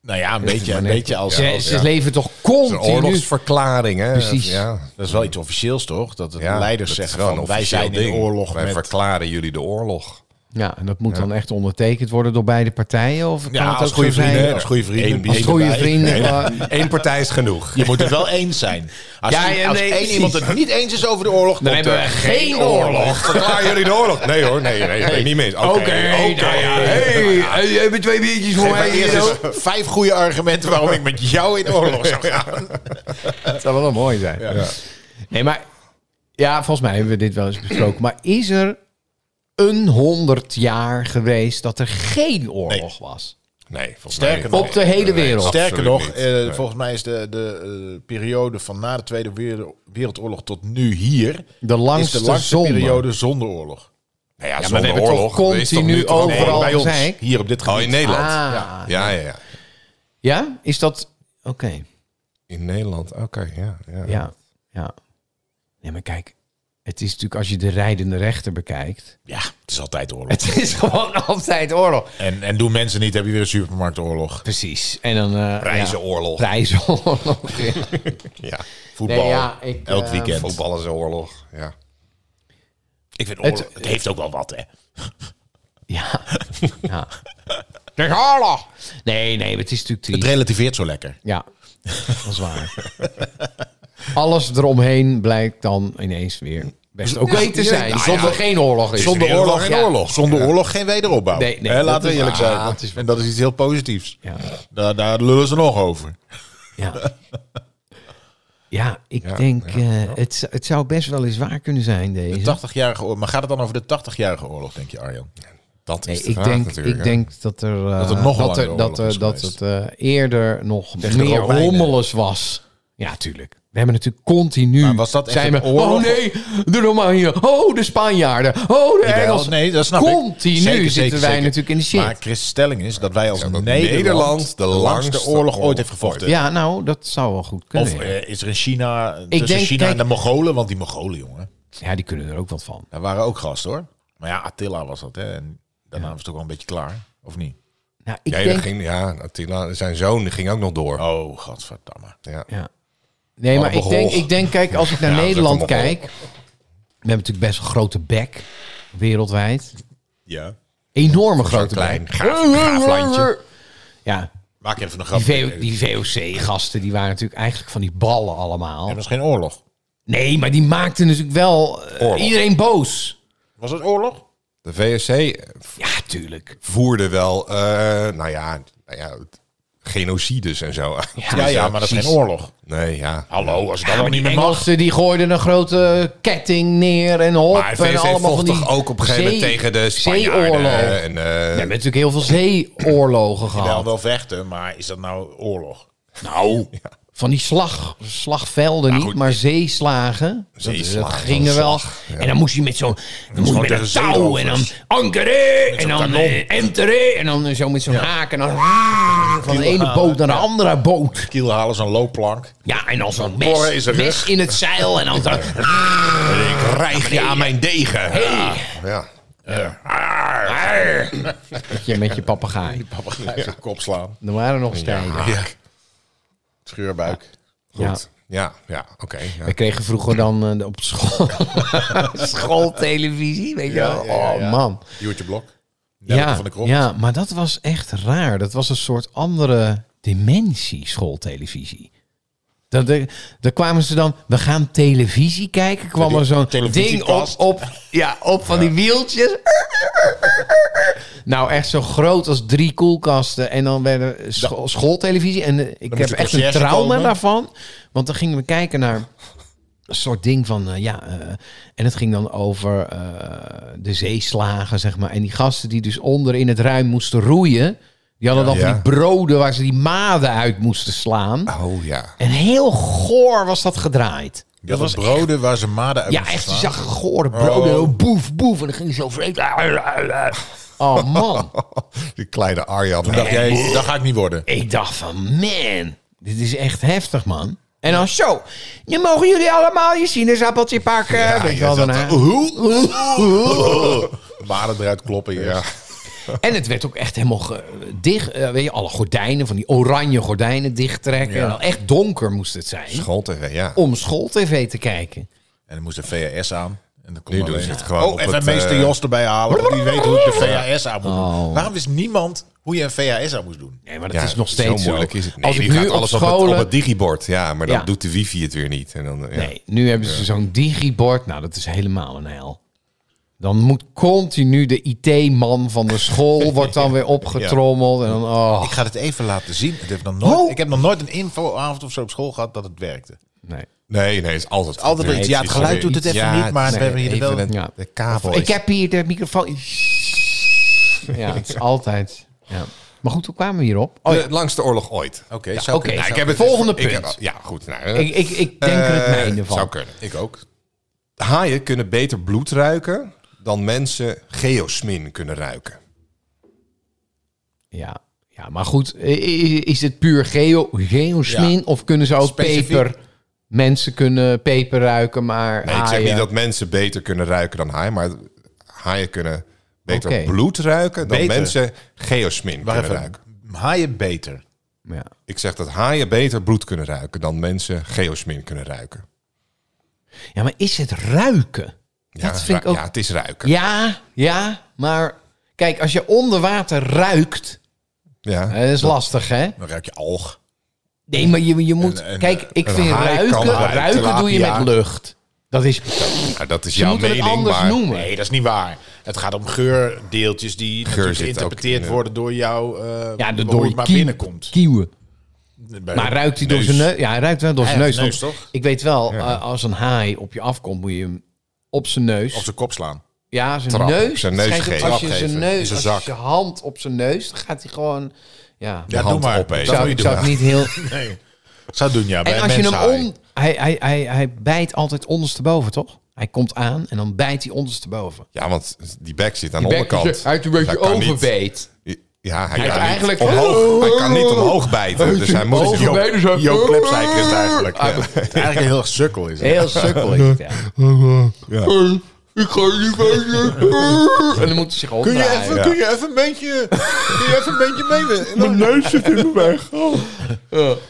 Speaker 3: nou ja, een beetje, een
Speaker 5: Maar net-
Speaker 3: beetje als...
Speaker 5: ze
Speaker 3: als-
Speaker 5: ze
Speaker 3: ja.
Speaker 5: leven toch
Speaker 2: Een
Speaker 5: continu.
Speaker 2: oorlogsverklaring, hè?
Speaker 5: Precies.
Speaker 2: Ja.
Speaker 3: Dat is wel iets officieels, toch? Dat de
Speaker 2: Ja,
Speaker 3: leiders
Speaker 2: dat is
Speaker 3: zeggen
Speaker 2: wel een
Speaker 3: van, wij
Speaker 2: officieel
Speaker 3: zijn in
Speaker 2: ding.
Speaker 3: oorlog
Speaker 2: Wij
Speaker 3: met...
Speaker 2: verklaren jullie de oorlog.
Speaker 5: Ja, en dat moet dan echt ondertekend worden door beide partijen. Of kan
Speaker 3: ja,
Speaker 5: het ook
Speaker 3: als
Speaker 5: zo
Speaker 3: goede
Speaker 5: zijn?
Speaker 3: vrienden. Als goede vrienden.
Speaker 2: Eén-
Speaker 3: bier
Speaker 5: Als goede
Speaker 3: erbij.
Speaker 5: vrienden. maar-
Speaker 2: Eén partij is genoeg.
Speaker 3: Je moet het wel eens zijn. Als,
Speaker 5: Ja,
Speaker 3: i-
Speaker 5: ja,
Speaker 3: als
Speaker 5: nee,
Speaker 3: één
Speaker 5: precies.
Speaker 3: iemand het niet eens is over de oorlog...
Speaker 5: Dan hebben we geen oorlog.
Speaker 2: Verklaren jullie de oorlog? Nee hoor, nee, nee, nee niet meer. Oké,
Speaker 5: Oké,
Speaker 2: oké.
Speaker 5: nou ja, hey, hey, heb je twee biertjes voor
Speaker 3: Maar
Speaker 5: mij?
Speaker 3: eerst
Speaker 5: hier,
Speaker 3: eens vijf goede argumenten waarom ik met jou in oorlog zou gaan.
Speaker 5: hoor? Dat zou wel mooi zijn. Nee, maar ja, volgens mij hebben we dit wel eens besproken. Maar is er een honderd jaar geweest dat er geen oorlog was?
Speaker 2: Nee, volgens
Speaker 3: Sterker
Speaker 2: mij
Speaker 3: nog,
Speaker 2: niet.
Speaker 5: Op de hele wereld.
Speaker 2: Absoluut
Speaker 3: Sterker nog,
Speaker 2: niet.
Speaker 3: eh, volgens mij is de, de eh, periode van na de Tweede Wereld- Wereldoorlog tot nu hier...
Speaker 5: De
Speaker 3: is
Speaker 5: langste,
Speaker 3: de langste
Speaker 5: zonder.
Speaker 3: periode zonder oorlog.
Speaker 2: Nou ja,
Speaker 5: we
Speaker 2: zonder
Speaker 5: hebben
Speaker 2: oorlog.
Speaker 5: toch
Speaker 2: er is toch nu
Speaker 5: continu
Speaker 2: toch een
Speaker 5: overal
Speaker 2: oorlog?
Speaker 3: bij ons,
Speaker 5: gezeik?
Speaker 3: hier op dit gebied.
Speaker 2: Oh, in Nederland.
Speaker 5: Ah.
Speaker 2: Ja. ja, ja, ja.
Speaker 5: Ja, is dat... Oké,
Speaker 2: In Nederland, oké, ja, ja.
Speaker 5: ja. ja. Nee, maar kijk. Het is natuurlijk, als je de rijdende rechter bekijkt...
Speaker 3: Ja, het is altijd oorlog.
Speaker 5: Het is gewoon altijd oorlog.
Speaker 3: En, en doen mensen niet, heb je weer een supermarktoorlog.
Speaker 5: Precies. En dan... eh, ja,
Speaker 2: Reizenoorlog.
Speaker 5: Prijzenoorlog. ja.
Speaker 2: Ja.
Speaker 3: Voetbal,
Speaker 5: Nee, ja, ik,
Speaker 3: elk
Speaker 5: eh,
Speaker 3: weekend.
Speaker 2: Voetbal is een oorlog, ja.
Speaker 3: Ik vind
Speaker 5: Het-
Speaker 3: heeft ook wel wat, hè?
Speaker 5: Ja. ja. De gala. Nee, nee, maar het is natuurlijk
Speaker 2: Het
Speaker 5: triest.
Speaker 2: relativeert zo lekker.
Speaker 5: Ja, dat is waar. Alles eromheen blijkt dan ineens weer best oké
Speaker 2: Ja,
Speaker 5: te
Speaker 2: ja,
Speaker 5: zijn.
Speaker 2: ja,
Speaker 5: zonder
Speaker 2: ja.
Speaker 5: geen oorlog is.
Speaker 2: Zonder
Speaker 5: er.
Speaker 2: oorlog geen
Speaker 5: Ja.
Speaker 2: oorlog. Zonder oorlog geen wederopbouw.
Speaker 5: Nee, nee,
Speaker 2: Hè,
Speaker 5: dat
Speaker 2: laten we
Speaker 5: is
Speaker 2: eerlijk
Speaker 5: waar.
Speaker 2: zijn.
Speaker 5: Ah,
Speaker 3: dat is, en dat is iets heel positiefs.
Speaker 5: Ja,
Speaker 3: Daar, daar lullen ze nog over.
Speaker 5: ja. ja ik denk, eh, het, z- het zou best wel eens waar kunnen zijn
Speaker 3: De
Speaker 5: deze.
Speaker 3: 80-jarige oorlog. Maar gaat het dan over de 80-jarige oorlog, denk je, Arjan?
Speaker 2: Dat
Speaker 5: Nee,
Speaker 2: is de
Speaker 5: ik
Speaker 2: vraag
Speaker 5: denk,
Speaker 2: natuurlijk.
Speaker 5: ik
Speaker 2: hè.
Speaker 5: denk dat er, eh,
Speaker 3: Dat het nog een
Speaker 5: dat, er,
Speaker 3: langere
Speaker 5: dat,
Speaker 3: oorlog is
Speaker 5: eh, dat het
Speaker 3: geweest.
Speaker 5: eh, eerder nog
Speaker 3: Tegen de
Speaker 5: meer
Speaker 3: Romeinen.
Speaker 5: hommeles was. Ja, tuurlijk. We hebben natuurlijk continu.
Speaker 3: Maar was dat echt
Speaker 5: zijn we,
Speaker 3: een oorlog?
Speaker 5: Oh nee, de Romeinen. Oh, de Spanjaarden. Oh, de
Speaker 3: Jawel,
Speaker 5: Engelsen.
Speaker 3: nee, dat snap ik.
Speaker 5: continu
Speaker 3: Zeker,
Speaker 5: zitten
Speaker 3: zeker,
Speaker 5: wij
Speaker 3: zeker.
Speaker 5: natuurlijk in de shit.
Speaker 3: Maar Chris' stelling is dat wij als
Speaker 2: dat
Speaker 3: Nederland,
Speaker 2: Nederland
Speaker 3: de langste oorlog ooit heeft gevochten.
Speaker 5: ja, nou, dat zou wel goed kunnen.
Speaker 3: Of
Speaker 5: ja.
Speaker 3: eh, is er in China, tussen
Speaker 5: denk,
Speaker 3: China en de
Speaker 5: kijk-
Speaker 3: Mongolen? Want die Mongolen, jongen,
Speaker 5: ja, die kunnen er ook wat van.
Speaker 3: daar waren ook gasten, hoor. Maar ja, Attila was dat, hè. En daarna was het ook wel een beetje klaar, of niet?
Speaker 5: Nou, ik
Speaker 2: Ja, dat
Speaker 5: denk,
Speaker 2: ging, ja, Attila, zijn zoon ging ook nog door.
Speaker 3: Oh, godverdamme.
Speaker 2: Ja.
Speaker 5: Ja. Nee, maar ik
Speaker 2: Allemaal
Speaker 5: denk,
Speaker 2: hol.
Speaker 5: ik denk, kijk, als ik naar
Speaker 2: Ja, dat is
Speaker 5: Nederland
Speaker 2: ook allemaal hol.
Speaker 5: kijk. We hebben natuurlijk best een grote bek wereldwijd.
Speaker 3: Ja.
Speaker 5: Enorme
Speaker 2: Zo'n
Speaker 5: grote bek.
Speaker 2: klein gaaf, gaaf landje.
Speaker 5: Ja,
Speaker 3: Maak even een grap.
Speaker 5: die,
Speaker 3: Ja,
Speaker 5: VO die VOC-gasten, die waren natuurlijk eigenlijk van die ballen allemaal.
Speaker 3: dat was geen oorlog.
Speaker 5: Nee, maar die maakten natuurlijk wel eh,
Speaker 2: Oorlog.
Speaker 5: iedereen boos.
Speaker 3: Was het oorlog?
Speaker 2: De VSC
Speaker 5: Ja, tuurlijk.
Speaker 2: voerde wel, eh, nou ja, nou ja het- genocides en zo.
Speaker 3: Ja, ja, maar dat is geen oorlog.
Speaker 2: Nee, ja.
Speaker 3: Hallo, als het
Speaker 5: Ja,
Speaker 3: allemaal
Speaker 5: maar
Speaker 3: niet
Speaker 5: die
Speaker 3: meer mag.
Speaker 5: Engelsen die gooiden een grote ketting neer en hop.
Speaker 2: Maar
Speaker 5: en
Speaker 2: VSC
Speaker 5: allemaal
Speaker 2: vocht
Speaker 5: van die
Speaker 2: toch ook op een gegeven moment
Speaker 5: zee-
Speaker 2: tegen de
Speaker 5: Zeeoorlog.
Speaker 2: Spanjaarden. En, eh,
Speaker 5: We hebben natuurlijk heel veel zeeoorlogen
Speaker 3: Wel,
Speaker 5: gehad.
Speaker 3: wel vechten, maar is dat nou oorlog?
Speaker 2: nou, ja, Nou
Speaker 5: Van die slag, slagvelden niet,
Speaker 2: goed,
Speaker 5: maar zeeslagen. Dat-
Speaker 2: Zeeslagen,
Speaker 5: dat gingen wel. En dan moest je met zo'n dan moest je met
Speaker 3: tegen
Speaker 5: een touw en dan
Speaker 3: zeerovers.
Speaker 5: ankeren en dan
Speaker 3: kanon.
Speaker 5: eh, enteren en dan zo met zo'n haak en dan van de ene boot naar de andere boot.
Speaker 3: Kielhalen is een loopplank.
Speaker 5: Ja, en dan zo'n
Speaker 2: porren
Speaker 5: mes,
Speaker 2: is er
Speaker 5: mes in het zeil en dan zo.
Speaker 2: ik rijg je aan mijn degen. Ja, ja.
Speaker 5: Met je, met je papegaai.
Speaker 3: Papa gaat zijn kop slaan.
Speaker 5: Er waren nog stijlen.
Speaker 2: Ja.
Speaker 3: Scheurbuik.
Speaker 5: Ja.
Speaker 2: Ja, ja, oké. ja.
Speaker 5: We kregen vroeger dan eh, op school schooltelevisie, weet je wel. Oh man.
Speaker 3: Joertje Blok. Nelke
Speaker 5: Ja,
Speaker 3: van de Krop.
Speaker 5: ja, maar dat was echt raar. Dat was een soort andere dimensie, schooltelevisie. Dan, dan kwamen ze dan, we gaan televisie kijken. kwam er zo'n ding op,
Speaker 3: televisiekast.
Speaker 5: op, ja, op van die wieltjes. Nou, echt zo groot als drie koelkasten. En dan werden scho- schooltelevisie. En eh, ik
Speaker 3: moest
Speaker 5: heb
Speaker 3: de
Speaker 5: echt een
Speaker 3: conciërge
Speaker 5: trauma
Speaker 3: komen.
Speaker 5: daarvan. Want dan gingen we kijken naar een soort ding van, eh, ja, eh, en het ging dan over eh, de zeeslagen, zeg maar. En die gasten die dus onder in het ruim moesten roeien, die hadden dan
Speaker 2: Ja.
Speaker 5: van die broden waar ze die maden uit moesten slaan.
Speaker 2: Oh ja.
Speaker 5: En heel goor was dat gedraaid.
Speaker 3: Dat was broden waar ze maden uit
Speaker 5: Ja,
Speaker 3: moesten
Speaker 5: echt, je
Speaker 3: slaan.
Speaker 5: zag gore broden,
Speaker 2: Oh.
Speaker 5: boef, boef. En dan ging je zo vreten. Oh man,
Speaker 2: Die kleine Arjan.
Speaker 3: Dacht jij, dat ga ik niet worden.
Speaker 5: ik dacht van, man, dit is echt heftig, man. En dan zo, nu mogen jullie allemaal je sinaasappeltje pakken. Weet je
Speaker 2: je
Speaker 5: wel,
Speaker 2: zat
Speaker 5: daarna.
Speaker 3: Maden eruit kloppen. Ja.
Speaker 5: En het werd ook echt helemaal ge- dicht. eh, weet je, alle gordijnen, van die oranje gordijnen dichttrekken. En dan echt donker moest het zijn.
Speaker 2: Schooltv, ja.
Speaker 5: om schooltv te kijken.
Speaker 3: En dan moest de VHS aan. En dan kon
Speaker 2: Nu
Speaker 3: alleen-
Speaker 2: doen ze het gewoon op
Speaker 3: Oh, even
Speaker 2: het,
Speaker 3: meester
Speaker 2: eh,
Speaker 3: Jos erbij halen. Want die weet hoe ik de VHS aan moet
Speaker 5: Oh.
Speaker 3: doen. Waarom wist niemand hoe je een VHS aan moest doen?
Speaker 5: Nee, maar dat
Speaker 2: Ja,
Speaker 5: is nog steeds
Speaker 2: zo
Speaker 5: zo.
Speaker 2: moeilijk is het. Nee,
Speaker 5: Als ik
Speaker 2: die
Speaker 5: nu
Speaker 2: gaat
Speaker 5: op
Speaker 2: alles op,
Speaker 5: scholen...
Speaker 2: het, op het digibord. Ja, maar dan
Speaker 5: Ja.
Speaker 2: doet de wifi het weer niet. En dan, ja.
Speaker 5: Nee, nu hebben ze zo'n digibord. Nou, dat is helemaal een hel. Dan moet continu de IT-man van de school wordt dan weer opgetrommeld. En dan, oh,
Speaker 3: Ik ga het even laten zien. Het heeft nog nooit,
Speaker 5: Oh.
Speaker 3: Ik heb nog nooit een infoavond of zo op school gehad dat het werkte.
Speaker 5: nee.
Speaker 2: nee, nee, het is altijd.
Speaker 3: Altijd
Speaker 2: weer
Speaker 3: iets.
Speaker 2: iets.
Speaker 3: Ja, het geluid doet het even
Speaker 2: Ja,
Speaker 3: niet, maar we hebben hier
Speaker 2: even
Speaker 3: wel-
Speaker 2: een-
Speaker 5: Ja.
Speaker 2: de kabel.
Speaker 5: Ik
Speaker 2: is-
Speaker 5: heb hier de microfoon. Ja, het is altijd... Ja. Maar goed, hoe kwamen we hierop?
Speaker 2: De langste oorlog ooit.
Speaker 3: Oh Oké,
Speaker 2: Ja. nou,
Speaker 3: zou
Speaker 5: oké.
Speaker 3: kunnen.
Speaker 2: ik heb het
Speaker 5: Volgende
Speaker 2: ik
Speaker 5: punt.
Speaker 2: heb- ja, goed. Nou,
Speaker 5: Ik, ik, ik denk er het
Speaker 2: eh,
Speaker 5: mijne van.
Speaker 2: Zou kunnen.
Speaker 3: Ik ook.
Speaker 2: Haaien kunnen beter bloed ruiken dan mensen geosmin kunnen ruiken.
Speaker 5: Ja, ja maar goed, i- i- is het puur geo, geosmin
Speaker 3: Ja.
Speaker 5: of kunnen ze ook
Speaker 3: Specifiek.
Speaker 5: peper... Mensen kunnen peper ruiken, maar
Speaker 2: Nee, ik zeg
Speaker 5: haaien-
Speaker 2: niet dat mensen beter kunnen ruiken dan haaien, maar haaien kunnen beter
Speaker 5: Oké.
Speaker 2: bloed ruiken dan
Speaker 3: Beter.
Speaker 2: mensen geosmin
Speaker 3: Waar
Speaker 2: kunnen ruiken.
Speaker 3: even. Haaien beter.
Speaker 5: Ja.
Speaker 2: Ik zeg dat haaien beter bloed kunnen ruiken dan mensen geosmin kunnen ruiken.
Speaker 5: ja, maar is het ruiken?
Speaker 2: Ja,
Speaker 5: dat vind ik
Speaker 2: ru-
Speaker 5: ook...
Speaker 2: ja
Speaker 5: Ja,
Speaker 2: het is ruiken.
Speaker 5: ja, Eh. maar kijk, als je onder water ruikt...
Speaker 2: Ja.
Speaker 5: Dat is lastig, hè?
Speaker 3: Dan ruik je alg.
Speaker 5: Nee, maar je, je moet...
Speaker 3: Een- een-
Speaker 5: kijk, ik
Speaker 2: een
Speaker 5: vind
Speaker 2: haai
Speaker 5: ruiken...
Speaker 2: kan eruit,
Speaker 5: Ruiken doe je
Speaker 3: tilapia.
Speaker 5: met lucht. Dat is...
Speaker 2: Ja, dat is
Speaker 5: Je
Speaker 2: jouw
Speaker 5: moet het
Speaker 2: mening,
Speaker 5: anders
Speaker 2: maar...
Speaker 5: noemen.
Speaker 3: Nee, dat is niet waar. Het gaat om geurdeeltjes die natuurlijk
Speaker 2: zit ook in
Speaker 3: geïnterpreteerd
Speaker 2: de-
Speaker 3: worden door jou, eh
Speaker 5: Ja, de
Speaker 3: hoe
Speaker 5: door
Speaker 3: het maar
Speaker 5: kie-
Speaker 3: binnenkomt.
Speaker 5: Kieuwen.
Speaker 3: Bij
Speaker 5: Maar
Speaker 3: de
Speaker 5: ruikt hij door zijn neus? Ja, hij ruikt wel door zijn
Speaker 3: Hij
Speaker 5: neus.
Speaker 3: heeft
Speaker 5: want
Speaker 3: neus, toch?
Speaker 5: Ik weet wel, eh, als een haai op je afkomt, moet je hem op zijn neus.
Speaker 3: Op zijn kop slaan.
Speaker 5: ja, zijn
Speaker 2: trap,
Speaker 5: neus.
Speaker 2: op zijn
Speaker 5: Het
Speaker 2: neus
Speaker 5: schijnt
Speaker 2: geven.
Speaker 5: ook Als je
Speaker 2: Trap
Speaker 5: zijn
Speaker 2: geven, in
Speaker 5: neus,
Speaker 2: zijn
Speaker 5: als je
Speaker 2: zak.
Speaker 5: zijn hand op zijn neus, dan gaat hij gewoon. Ja,
Speaker 3: Ja, doe
Speaker 2: hand
Speaker 3: maar.
Speaker 2: opeten.
Speaker 5: ik
Speaker 3: Dat
Speaker 5: zou,
Speaker 3: moet je
Speaker 5: ik
Speaker 3: doen.
Speaker 5: zou het niet heel.
Speaker 3: Nee. Zou doen, ja. bij
Speaker 5: en
Speaker 3: een
Speaker 5: als je hem
Speaker 3: menshaai.
Speaker 5: om. Hij, hij, hij, hij bijt altijd ondersteboven, toch? Hij komt aan en dan bijt hij ondersteboven.
Speaker 2: Ja, want die bek zit aan de onderkant.
Speaker 5: Hij heeft een beetje
Speaker 2: Dat kan niet.
Speaker 5: overbeet.
Speaker 2: Ja, hij,
Speaker 5: Hij
Speaker 2: kan
Speaker 5: heeft eigenlijk-
Speaker 2: niet
Speaker 3: Oh.
Speaker 2: omhoog, hij kan niet omhoog bijten. Dus hij moet...
Speaker 5: Overbeet
Speaker 2: Jo-
Speaker 5: is hij-
Speaker 2: Jo Klepsijk is het eigenlijk.
Speaker 3: Ah,
Speaker 2: Ja.
Speaker 3: Eigenlijk een heel erg sukkel is het.
Speaker 5: Heel sukkel is het, ja. Eh, Ik ga niet En dan moet hij zich omdraaien.
Speaker 2: Ja.
Speaker 3: kun je even een beetje, kun je even een beetje mee?
Speaker 5: Mijn neus zit in de weg.
Speaker 3: Haal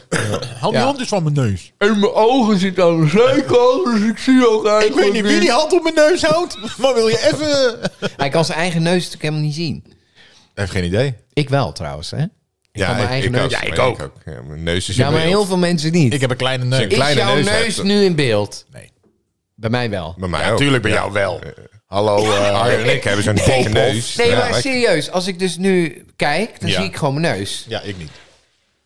Speaker 3: die
Speaker 5: Ja.
Speaker 3: hand eens van mijn neus.
Speaker 5: En mijn ogen zitten aan de zijkant, dus ik zie ook eigenlijk
Speaker 3: hand op mijn neus houdt, maar wil je even...
Speaker 5: Hij kan zijn eigen neus natuurlijk helemaal niet zien.
Speaker 3: Hij heeft geen idee.
Speaker 5: Ik wel trouwens, hè?
Speaker 2: Ja,
Speaker 5: kan mijn eigen neus-
Speaker 2: Ja, ik ook. Ja, mijn neus is
Speaker 5: Ja, maar heel
Speaker 2: heel
Speaker 5: veel mensen niet.
Speaker 3: Ik heb een kleine neus.
Speaker 2: Zeker. kleine
Speaker 5: is jouw
Speaker 2: neus
Speaker 5: neus,
Speaker 2: heeft het.
Speaker 5: nu in beeld?
Speaker 3: Nee.
Speaker 5: Bij mij wel.
Speaker 2: Bij mij ook.
Speaker 3: Natuurlijk bij
Speaker 2: Ja.
Speaker 3: jou wel. Hallo. eh,
Speaker 2: Arjen en ik hebben zo'n dikke neus.
Speaker 5: Nee,
Speaker 2: Ja,
Speaker 5: maar
Speaker 2: ik-
Speaker 5: serieus, als ik dus nu kijk, dan
Speaker 3: Ja. Oh,
Speaker 5: zie ik gewoon mijn neus.
Speaker 3: ja, ik niet.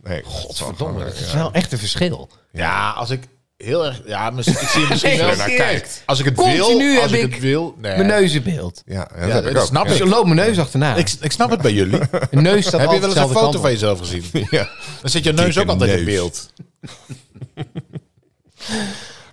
Speaker 2: Nee, godverdomme.
Speaker 5: Dat is wel echt een verschil.
Speaker 3: Ja, als ik heel erg... Ja, misschien, ik zie hem misschien
Speaker 5: Nee,
Speaker 3: wel.
Speaker 2: naar
Speaker 5: serieus.
Speaker 2: kijkt.
Speaker 3: Als ik het wil,
Speaker 5: Continu
Speaker 3: als
Speaker 5: heb
Speaker 3: ik,
Speaker 5: ik
Speaker 3: het wil... Nee.
Speaker 5: Mijn neus in beeld.
Speaker 2: Ja, dat,
Speaker 3: Ja,
Speaker 2: heb ik
Speaker 3: dat
Speaker 2: ook.
Speaker 3: snap
Speaker 2: Ja.
Speaker 5: Dus
Speaker 3: ik.
Speaker 5: ik loop mijn neus achterna.
Speaker 3: Ik, ik snap het bij jullie. Heb
Speaker 5: Mijn neus staat
Speaker 3: je
Speaker 5: altijd
Speaker 3: wel eens een
Speaker 5: dezelfde
Speaker 3: foto
Speaker 5: kant
Speaker 3: van
Speaker 5: op.
Speaker 3: jezelf gezien?
Speaker 2: Ja.
Speaker 3: Dan zit je neus ook
Speaker 2: Dikke
Speaker 3: altijd in
Speaker 2: neus.
Speaker 3: beeld.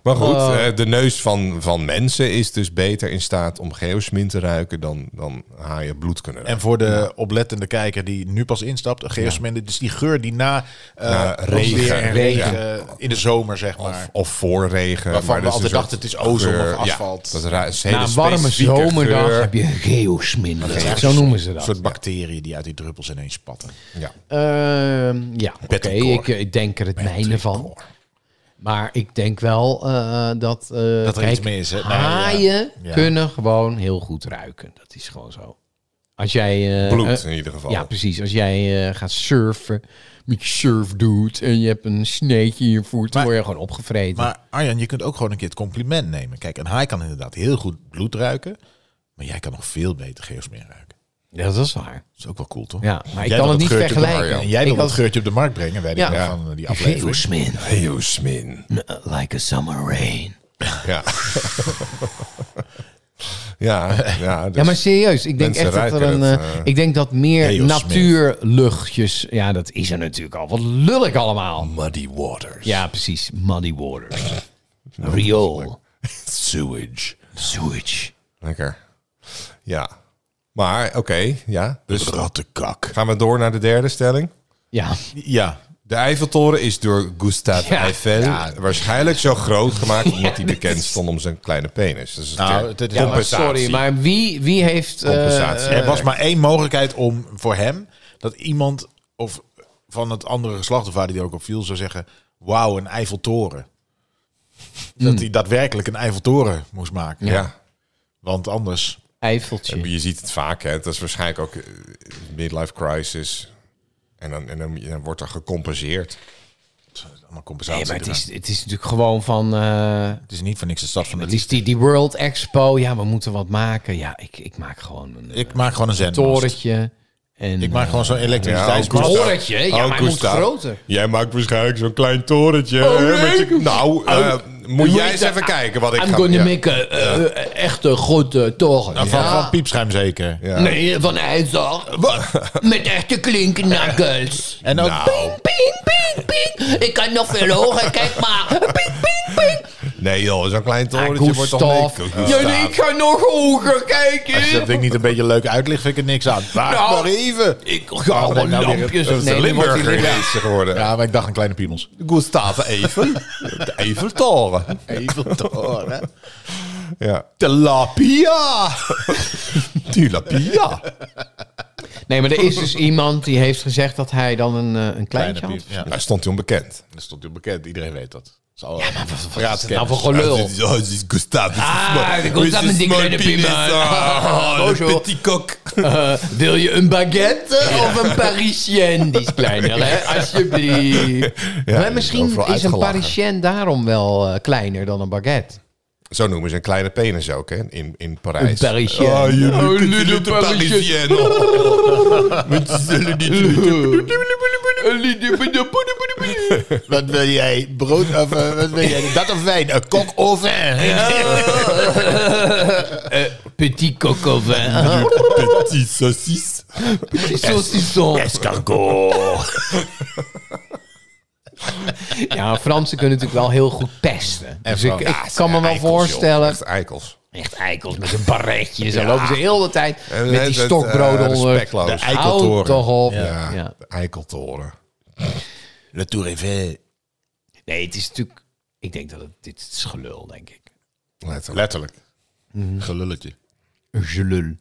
Speaker 2: Maar goed, eh, de neus van, van mensen is dus beter in staat om geosmin te ruiken dan, dan haaien bloed kunnen ruiken.
Speaker 3: En voor de oplettende kijker die nu pas instapt, een geosmin, dit is die geur die na eh,
Speaker 2: Na
Speaker 3: ons
Speaker 2: regen,
Speaker 3: weer en
Speaker 5: regen.
Speaker 3: regen eh, in de zomer, zeg maar.
Speaker 2: Of voor regen.
Speaker 3: Waarvan
Speaker 2: maar
Speaker 3: we
Speaker 2: dat is
Speaker 3: altijd
Speaker 2: een
Speaker 3: dachten,
Speaker 2: soort
Speaker 3: het is ozon of
Speaker 2: geur.
Speaker 3: asfalt.
Speaker 2: Ja, dat ra- is een hele
Speaker 5: Na een warme
Speaker 2: specifieke
Speaker 5: zomerdag
Speaker 2: geur.
Speaker 5: heb je geosmin. Zo noemen ze
Speaker 3: Een
Speaker 5: dat.
Speaker 3: soort bacteriën die uit die druppels ineens spatten.
Speaker 2: Ja.
Speaker 5: Ehm, ja, oké.
Speaker 3: Bettencore.
Speaker 5: Ik, ik denk er het mijne van. Maar ik denk wel eh, dat... eh,
Speaker 3: er
Speaker 5: kijk,
Speaker 3: iets mee is, hè? Nee, ja.
Speaker 5: haaien
Speaker 3: Ja.
Speaker 5: kunnen gewoon heel goed ruiken. Dat is gewoon zo. Als jij... eh,
Speaker 2: Bloed
Speaker 5: eh,
Speaker 2: in ieder geval.
Speaker 5: ja, precies. Als jij eh, gaat surfen met je surfdude en je hebt een sneetje in je voet, dan
Speaker 3: Maar-
Speaker 5: word je gewoon opgevreten.
Speaker 3: Maar Arjan, je kunt ook gewoon een keer het compliment nemen. Kijk, een haai kan inderdaad heel goed bloed ruiken. Maar jij kan nog veel beter geosmin ruiken.
Speaker 5: Ja, dat is waar.
Speaker 3: Dat is ook wel cool, toch?
Speaker 5: Ja, maar ik
Speaker 3: Jij
Speaker 5: kan
Speaker 3: wil
Speaker 5: het niet
Speaker 3: geurtje op de markt,
Speaker 5: vergelijken.
Speaker 3: Arjan. En jij
Speaker 5: Ik
Speaker 3: wil
Speaker 5: kan-
Speaker 3: dat geurtje op de markt brengen, weet ik
Speaker 5: Ja.
Speaker 3: nog van eh, die aflevering.
Speaker 1: Geosmin,
Speaker 2: Geosmin.
Speaker 1: like a summer rain.
Speaker 2: Ja. ja, ja, dus
Speaker 5: Ja, maar serieus, ik denk
Speaker 2: Mensen
Speaker 5: echt dat er een.
Speaker 2: ruiken het,
Speaker 5: eh,
Speaker 2: eh,
Speaker 5: ik denk dat meer
Speaker 3: heel smerig.
Speaker 5: natuurluchtjes. Ja, dat is er natuurlijk al. Wat lullig allemaal.
Speaker 2: Muddy waters.
Speaker 5: Ja, precies. Muddy waters.
Speaker 1: Riool.
Speaker 2: Sewage.
Speaker 1: Sewage.
Speaker 2: Lekker. Ja. Maar, oké, ja. Dus
Speaker 3: Rattenkak.
Speaker 2: gaan we door naar de derde stelling.
Speaker 5: Ja.
Speaker 3: Ja.
Speaker 2: De Eiffeltoren is door Gustave
Speaker 5: Ja.
Speaker 2: Eiffel
Speaker 3: Ja.
Speaker 2: waarschijnlijk zo groot gemaakt omdat hij bekend stond om zijn kleine penis. Dus
Speaker 3: Nou,
Speaker 2: het,
Speaker 3: het is
Speaker 5: ja maar
Speaker 2: compensatie.
Speaker 5: sorry, maar wie, wie heeft. eh,
Speaker 2: Compensatie.
Speaker 5: eh,
Speaker 3: Er was maar één mogelijkheid om voor hem dat iemand of van het andere geslacht of waar die ook op viel zou zeggen: Wauw, een Eiffeltoren.
Speaker 5: Hmm.
Speaker 3: Dat hij daadwerkelijk een Eiffeltoren moest maken.
Speaker 2: ja.
Speaker 3: Want anders.
Speaker 2: En
Speaker 5: Eiffeltje.
Speaker 2: je ziet het vaak, hè. Dat is waarschijnlijk ook eh, midlife crisis. En dan, en dan, dan wordt er gecompenseerd.
Speaker 3: Allemaal
Speaker 5: Nee,
Speaker 3: compensatie.
Speaker 5: maar het
Speaker 3: eraan.
Speaker 5: is, het is natuurlijk gewoon van. eh,
Speaker 3: Het is niet voor niks de stad van de
Speaker 5: het is die, die World Expo. Ja, we moeten wat maken. Ja, ik, ik maak gewoon een
Speaker 3: Ik maak gewoon een zendmast.
Speaker 5: torentje. En,
Speaker 3: Ik maak gewoon zo'n
Speaker 5: Dus
Speaker 2: Ja,
Speaker 5: een
Speaker 2: ook
Speaker 3: elektriciteitsmast.
Speaker 2: Gustave.
Speaker 5: torentje. Ja,
Speaker 2: Oh,
Speaker 5: maar het moet
Speaker 2: Gustave.
Speaker 5: groter.
Speaker 2: Jij maakt waarschijnlijk zo'n klein torentje.
Speaker 5: Oh,
Speaker 2: hè,
Speaker 5: nee.
Speaker 2: met je- nou, eh, moet
Speaker 5: Moet
Speaker 2: jij
Speaker 5: ik
Speaker 2: eens
Speaker 5: da-
Speaker 2: even kijken wat ik
Speaker 5: ah, I'm
Speaker 2: ga...
Speaker 5: gonna
Speaker 2: ja.
Speaker 5: make a, eh, eh, echt een grote
Speaker 3: Ja,
Speaker 5: toren.
Speaker 3: Nou, van,
Speaker 5: Ja.
Speaker 3: van piepschuim zeker.
Speaker 2: Ja.
Speaker 5: Nee, van IJzer. Met echte klinknakkels.
Speaker 3: En ook
Speaker 5: Ping, ping, ping. Ik kan nog veel hoger, kijk maar. Ping, ping, ping.
Speaker 2: Nee joh, zo'n klein torentje wordt toch
Speaker 5: Gustav.
Speaker 2: niks.
Speaker 5: Ah, Ja, nee, ik ga nog hoger, kijken.
Speaker 3: als je dat ding niet een beetje leuk uitlicht, vind ik er niks aan. Wacht
Speaker 5: Nou.
Speaker 3: maar even.
Speaker 5: Ik ga
Speaker 3: Waarom
Speaker 5: gewoon
Speaker 3: nou weer-
Speaker 5: lampjes
Speaker 2: Dat is de
Speaker 5: opnemen, wordt
Speaker 2: Limburger
Speaker 5: hier-
Speaker 2: ineens geworden.
Speaker 3: Ja, maar ik dacht een kleine piemels.
Speaker 2: Gustave Eiffel. De Eiffeltoren.
Speaker 3: Eiffeltoren.
Speaker 2: Ja.
Speaker 3: Tilapia.
Speaker 2: Tilapia.
Speaker 5: Nee, maar er is dus iemand die heeft gezegd dat hij dan een, eh, een kleintje
Speaker 3: Kleine
Speaker 5: had.
Speaker 3: piep. Ja.
Speaker 2: Daar stond hij onbekend.
Speaker 3: Dat stond u bekend, iedereen weet dat. Zal wel. Ja,
Speaker 5: Wat is het nou voor gelul?
Speaker 2: Oh, dit is Gustav.
Speaker 5: Ah, de Gustav met die kleine penis.
Speaker 3: Oh,
Speaker 5: Ah, bonjour.
Speaker 2: kok.
Speaker 5: Eh, wil je een baguette of een Parisienne? Die is kleiner, hè? Alsjeblieft. maar misschien
Speaker 2: overal
Speaker 5: is een
Speaker 2: uitgelachen.
Speaker 5: Parisienne daarom wel eh, kleiner dan een baguette.
Speaker 2: Zo noemen ze een kleine penis ook, hè, in, in Parijs.
Speaker 5: Een Parisienne.
Speaker 2: Ah, je
Speaker 5: Oh,
Speaker 2: bent
Speaker 5: een
Speaker 2: een
Speaker 5: little
Speaker 2: little
Speaker 5: Parisienne.
Speaker 2: Parisienne. Met je zullen niet weten.
Speaker 3: Wat wil jij? Brood of eh, wat wil jij? Dat of wijn? Een kok au vin.
Speaker 5: Eh, Petit coco vin.
Speaker 2: Petit saucisse.
Speaker 5: Saucisson. Ja, Fransen kunnen natuurlijk wel heel goed pesten. Dus ik, ik kan me wel
Speaker 2: Eikels, joh.
Speaker 5: voorstellen...
Speaker 2: Echt eikels.
Speaker 5: Echt eikels met een barretje. Zo lopen ze heel de tijd met die stokbrood
Speaker 2: eh,
Speaker 5: onder.
Speaker 2: respectloos.
Speaker 5: De
Speaker 2: De eikeltoren.
Speaker 5: Alcohol.
Speaker 2: Ja,
Speaker 5: Ja. Ja.
Speaker 2: de eikeltoren.
Speaker 3: Le Tour Eiffel.
Speaker 5: Nee, het is natuurlijk... Ik denk dat het... Dit is gelul, denk ik.
Speaker 2: Letterlijk.
Speaker 3: Letterlijk. Mhm. Gelulletje.
Speaker 5: Gelul.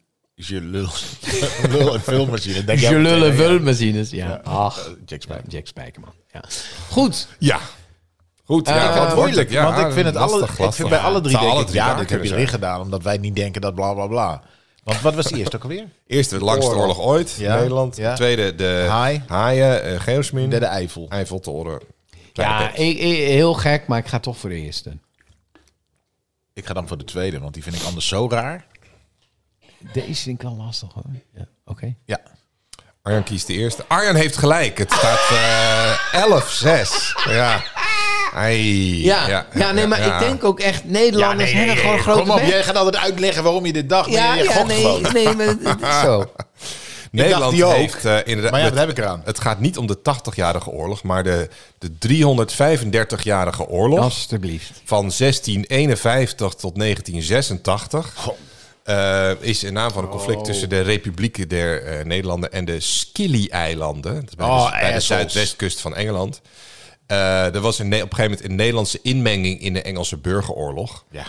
Speaker 3: Je lul. lul en filmmachine. Denk jij
Speaker 5: Gelullen
Speaker 3: meteen, hè?
Speaker 5: vulmachines. Ja. Ach,
Speaker 3: Eh, Jack Spijker.
Speaker 5: Jack Spijkerman. Ja. Goed.
Speaker 2: Ja. Goed, ja, wat moeilijk. Ja,
Speaker 3: Eh, want ik vind het
Speaker 2: lastig,
Speaker 3: alle,
Speaker 2: lastig.
Speaker 3: ik vind bij alle drie
Speaker 2: Zou
Speaker 3: denk
Speaker 2: alle
Speaker 3: ik,
Speaker 2: drie
Speaker 3: ja,
Speaker 2: waar
Speaker 3: dit heb
Speaker 2: kunnen
Speaker 3: je
Speaker 2: zijn.
Speaker 3: erin gedaan, omdat wij niet denken dat bla bla bla. Want wat was die eerste ook alweer?
Speaker 2: Eerste, de langste
Speaker 3: Oorlog.
Speaker 2: oorlog, ooit.
Speaker 3: Ja,
Speaker 2: Nederland.
Speaker 3: ja.
Speaker 2: Tweede, de
Speaker 3: Haai.
Speaker 2: haaien. eh Geosmin.
Speaker 3: Derde Eifel.
Speaker 2: Eiffeltoren. Kleine
Speaker 5: Ja,
Speaker 2: penis.
Speaker 5: ik- ik- heel gek, maar ik ga toch voor de eerste.
Speaker 3: Ik ga dan voor de tweede, want die vind ik anders zo raar.
Speaker 5: Deze vind ik wel lastig hoor. Ja. Oké.
Speaker 3: Ja.
Speaker 2: Arjan kiest de eerste. Arjan heeft gelijk. Het staat eh 11-6. Ja. Ai.
Speaker 5: Ja, ja, nee, maar ik denk ook echt,
Speaker 3: Ah,
Speaker 5: Nederlanders hebben gewoon grote
Speaker 3: Kom op,
Speaker 5: bek.
Speaker 3: jij gaat altijd uitleggen waarom je dit dacht. maar
Speaker 5: Ja,
Speaker 3: je
Speaker 5: ja,
Speaker 3: gokt
Speaker 5: nee,
Speaker 3: gewoon.
Speaker 5: nee, maar het is zo.
Speaker 2: Nederland
Speaker 3: die ook.
Speaker 2: heeft eh, inderdaad...
Speaker 3: Maar ja,
Speaker 2: het-
Speaker 3: wat heb ik eraan?
Speaker 2: Het gaat niet om de 80-jarige oorlog, maar de, de 335-jarige oorlog.
Speaker 5: Alsjeblieft.
Speaker 2: van 1651 tot 1986. eh, is in naam van een conflict
Speaker 3: Oh.
Speaker 2: tussen de Republieken der eh, Nederlanden en de Scilly-eilanden. Dat is bij,
Speaker 3: Oh,
Speaker 2: de, bij de
Speaker 3: assholes.
Speaker 2: zuidwestkust van Engeland. Eh, er was een, op een gegeven moment een Nederlandse inmenging in de Engelse burgeroorlog.
Speaker 3: Ja.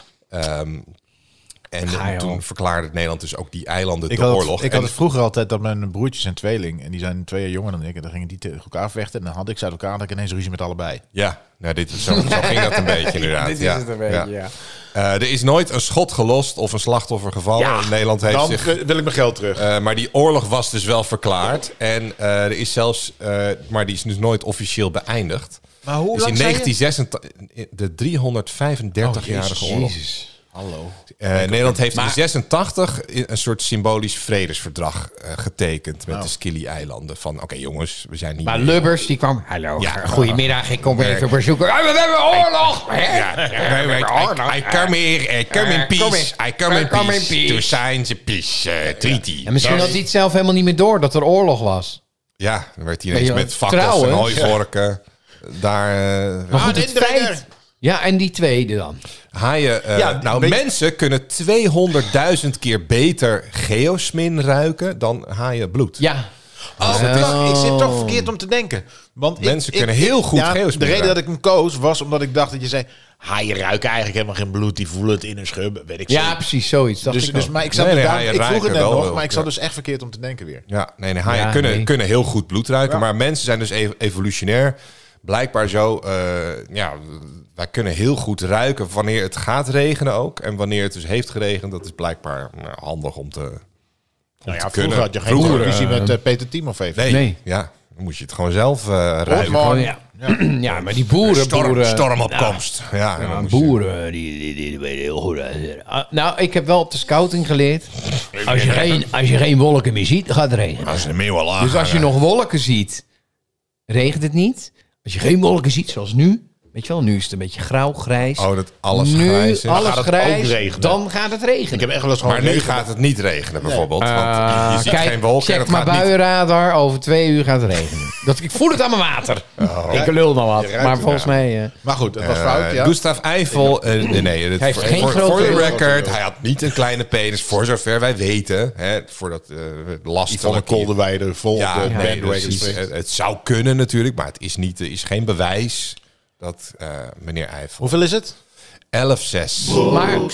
Speaker 2: En
Speaker 5: Ga, joh.
Speaker 2: toen verklaarde Nederland dus ook die eilanden
Speaker 3: Ik
Speaker 2: de
Speaker 3: had,
Speaker 2: oorlog.
Speaker 3: het, ik had
Speaker 2: En-
Speaker 3: het vroeger altijd dat mijn broertjes en tweeling, en die zijn twee jaar jonger dan ik, en dan gingen die tegen elkaar vechten. En dan had ik ze uit elkaar en dan had ik ineens ruzie met allebei.
Speaker 2: Ja, nou, dit, zo, zo ging dat een beetje inderdaad.
Speaker 5: Dit is
Speaker 2: ja.
Speaker 5: het een beetje, ja.
Speaker 2: Eh, er is nooit een schot gelost of een slachtoffer gevallen. Nederland heeft
Speaker 3: Dan
Speaker 2: zich
Speaker 3: ge- wil ik mijn geld terug.
Speaker 2: Eh, maar die oorlog was dus wel verklaard. En eh, er is zelfs, eh, maar die is dus nooit officieel beëindigd.
Speaker 3: Maar hoe
Speaker 2: dus
Speaker 3: lang
Speaker 2: in
Speaker 3: zei je? Oh,
Speaker 2: 1986, de 335-jarige oorlog.
Speaker 3: Hallo.
Speaker 2: Eh, Nederland heeft in 86 i- een soort symbolisch vredesverdrag eh, getekend
Speaker 3: Nou.
Speaker 2: met de Scilly-eilanden. Van oké jongens, we zijn niet
Speaker 5: Maar
Speaker 2: meer-
Speaker 5: Lubbers, die kwam, hallo,
Speaker 2: Ja.
Speaker 5: goedemiddag, ik kom even bezoeken. Ah, we hebben oorlog! Hè?
Speaker 2: Ja, nee, nee, I, I come here, I come in
Speaker 5: Eh, kom
Speaker 2: peace,
Speaker 5: in.
Speaker 2: I come in
Speaker 5: Eh, come in
Speaker 2: peace,
Speaker 5: peace.
Speaker 2: to sign the peace eh, treaty.
Speaker 5: En misschien had hij het zelf helemaal niet meer door dat er oorlog was.
Speaker 2: Ja, dan werd hij ineens
Speaker 5: Ben je
Speaker 2: met fakkels en
Speaker 5: trouwens?
Speaker 2: hooivorken. Daar, eh,
Speaker 5: Maar goed, het feit... Ja, en die tweede dan.
Speaker 2: haaien. eh,
Speaker 3: Ja, die
Speaker 2: nou,
Speaker 3: beetje-
Speaker 2: mensen kunnen 200.000 keer beter geosmin ruiken dan haaien bloed.
Speaker 5: Ja.
Speaker 3: Oh,
Speaker 5: het is-
Speaker 3: wacht, ik zit toch verkeerd om te denken. Want ik-
Speaker 2: Mensen
Speaker 3: ik-
Speaker 2: kunnen
Speaker 3: ik-
Speaker 2: heel goed
Speaker 3: ja,
Speaker 2: geosmin
Speaker 3: De reden dat
Speaker 2: ruiken.
Speaker 3: ik hem koos was omdat ik dacht dat je zei... Haaien ruiken eigenlijk helemaal geen bloed. Die voelen het in hun schub. Weet ik
Speaker 5: Ja,
Speaker 3: veel.
Speaker 5: precies, zoiets. dacht
Speaker 3: Dus,
Speaker 5: ik
Speaker 3: dus
Speaker 5: ook.
Speaker 3: maar ik, zat
Speaker 2: Nee, nee,
Speaker 3: daar-
Speaker 2: haaien
Speaker 3: ik vroeg
Speaker 2: ruiken
Speaker 3: het net
Speaker 2: wel
Speaker 3: nog,
Speaker 2: wel,
Speaker 3: maar ik
Speaker 2: ja.
Speaker 3: zat dus echt verkeerd om te denken weer.
Speaker 2: Ja, nee, nee haaien
Speaker 5: Ja,
Speaker 2: kunnen,
Speaker 5: nee.
Speaker 2: kunnen heel goed bloed ruiken. Maar mensen zijn dus ev- evolutionair blijkbaar zo... eh, ja, wij kunnen heel goed ruiken wanneer het gaat regenen ook. En wanneer het dus heeft geregend. Dat is blijkbaar nou, handig om te...
Speaker 3: Nou ja,
Speaker 2: te
Speaker 3: vroeger
Speaker 2: kunnen.
Speaker 3: had je geen
Speaker 2: Vroeger,
Speaker 3: ruzie met eh, Peter Timof even.
Speaker 2: Nee,
Speaker 5: Nee.
Speaker 2: ja. Dan moest je het gewoon zelf eh ruiken.
Speaker 3: man.
Speaker 5: Oh, ja. ja, maar die boeren...
Speaker 2: Storm,
Speaker 5: boeren
Speaker 2: stormopkomst. Ja, en dan
Speaker 5: Ja,
Speaker 2: moest je-
Speaker 5: boeren, die, die, die, die weten heel goed. uit. Ah, Nou, ik heb wel op de scouting geleerd. Als je geen, als je geen wolken meer ziet, gaat het regenen.
Speaker 2: Als de meeuwen lagen.
Speaker 5: Dus als je nog wolken ziet, regent het niet. Als je geen wolken ziet, zoals nu. Weet je wel, nu is het een beetje grauw, grijs.
Speaker 2: Oh, dat alles
Speaker 5: nu,
Speaker 2: grijs is.
Speaker 5: alles
Speaker 3: gaat het ook
Speaker 5: grijs,
Speaker 3: regenen.
Speaker 5: dan gaat het regenen.
Speaker 3: Ik heb echt wel eens gewoon...
Speaker 2: Maar nu
Speaker 3: regen-
Speaker 2: gaat het niet regenen, bijvoorbeeld. want
Speaker 5: Ah,
Speaker 2: je ziet
Speaker 5: kijk,
Speaker 2: geen wolken. en
Speaker 5: check
Speaker 2: het
Speaker 5: mijn
Speaker 2: gaat niet-
Speaker 5: buienradar, over twee uur gaat het regenen. dat, ik voel het aan mijn water.
Speaker 2: Oh.
Speaker 5: ik lul nou wat, maar volgens mij... eh,
Speaker 3: Maar goed, dat was
Speaker 2: Eh,
Speaker 3: fout, ja.
Speaker 2: Gustav Eiffel, eh, nee, nee, dat-
Speaker 5: heeft
Speaker 2: voor,
Speaker 5: geen
Speaker 2: voor-
Speaker 5: grote
Speaker 2: voor de
Speaker 5: wereld.
Speaker 2: record, hij had niet een kleine penis, voor zover wij weten. Hè, voor dat eh, last van
Speaker 3: Yvonne
Speaker 2: een kolder.
Speaker 3: Kolderweide vol op
Speaker 2: Ja,
Speaker 3: de
Speaker 2: nee,
Speaker 3: bandwagon
Speaker 2: precies.
Speaker 3: springt.
Speaker 2: het, het zou kunnen natuurlijk, maar het is, niet, er is geen bewijs dat eh, meneer Eiffel...
Speaker 3: Hoeveel is het?
Speaker 2: 11-6.
Speaker 5: Maar. Oh.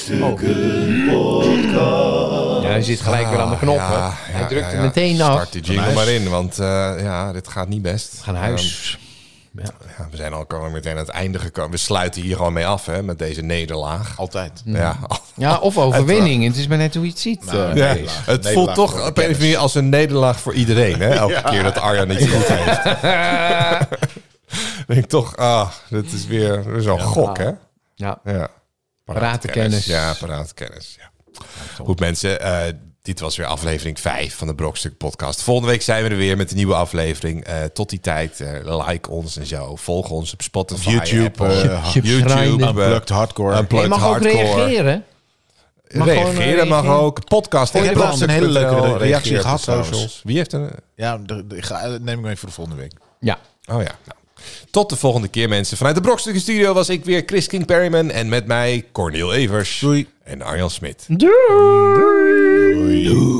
Speaker 5: Ja, hij zit gelijk weer aan de knop.
Speaker 2: Ah, Ja,
Speaker 5: hè. hij
Speaker 2: ja,
Speaker 5: drukt
Speaker 2: ja,
Speaker 5: er
Speaker 2: ja.
Speaker 5: meteen af.
Speaker 2: Start die jingle maar in, want eh, ja, dit gaat niet best.
Speaker 5: Gaan huis. Ja.
Speaker 2: Ja, we zijn al al meteen aan het einde gekomen. We sluiten hier gewoon mee af hè, met deze nederlaag.
Speaker 3: Altijd.
Speaker 5: Mm.
Speaker 2: Ja, Nou,
Speaker 5: ja, of overwinning. Het is maar net hoe je het ziet. eh.
Speaker 2: ja.
Speaker 3: nederlaag.
Speaker 2: Het voelt
Speaker 3: Nederlaag
Speaker 2: toch
Speaker 3: voor
Speaker 2: op een of andere manier als een nederlaag voor iedereen. Hè? Elke keer dat Arjan iets goed heeft. denk ik toch, ah, dat is weer zo'n gok, hè?
Speaker 5: Ja.
Speaker 2: Ja.
Speaker 5: Paraatkennis.
Speaker 2: Ja, paraatkennis. Ja. Goed mensen, eh, dit was weer aflevering 5 van de Brokstuk podcast. Volgende week zijn we er weer met een nieuwe aflevering. Eh, tot die tijd, eh, like ons en zo. Volg ons op Spotify,
Speaker 3: YouTube,
Speaker 2: Apple,
Speaker 3: eh,
Speaker 2: YouTube,
Speaker 5: Schrijnen.
Speaker 2: eh,
Speaker 3: Unplugged hardcore.
Speaker 5: Nee,
Speaker 2: Unplugged
Speaker 5: je mag ook
Speaker 2: hardcore.
Speaker 5: reageren. Mag gewoon, eh,
Speaker 2: reageren mag
Speaker 5: reageren.
Speaker 2: ook. Podcast.
Speaker 3: Vond je
Speaker 2: en
Speaker 3: er laatst een hele
Speaker 2: brokstuk.nl.
Speaker 3: leuke reactie
Speaker 2: Reageer op
Speaker 3: gehad
Speaker 2: de socials.
Speaker 3: trouwens?
Speaker 2: Wie heeft Oh een...
Speaker 3: Ja, d- d- ga- neem ik mee voor de volgende week.
Speaker 5: Ja.
Speaker 2: Oh ja. Nou, Tot de volgende keer, mensen. Vanuit de Brokstukken Studio was ik weer Chris King Perryman. En met mij Cornel Evers.
Speaker 3: Doei.
Speaker 2: En Arjan Smit.
Speaker 4: Doei!
Speaker 1: Doei.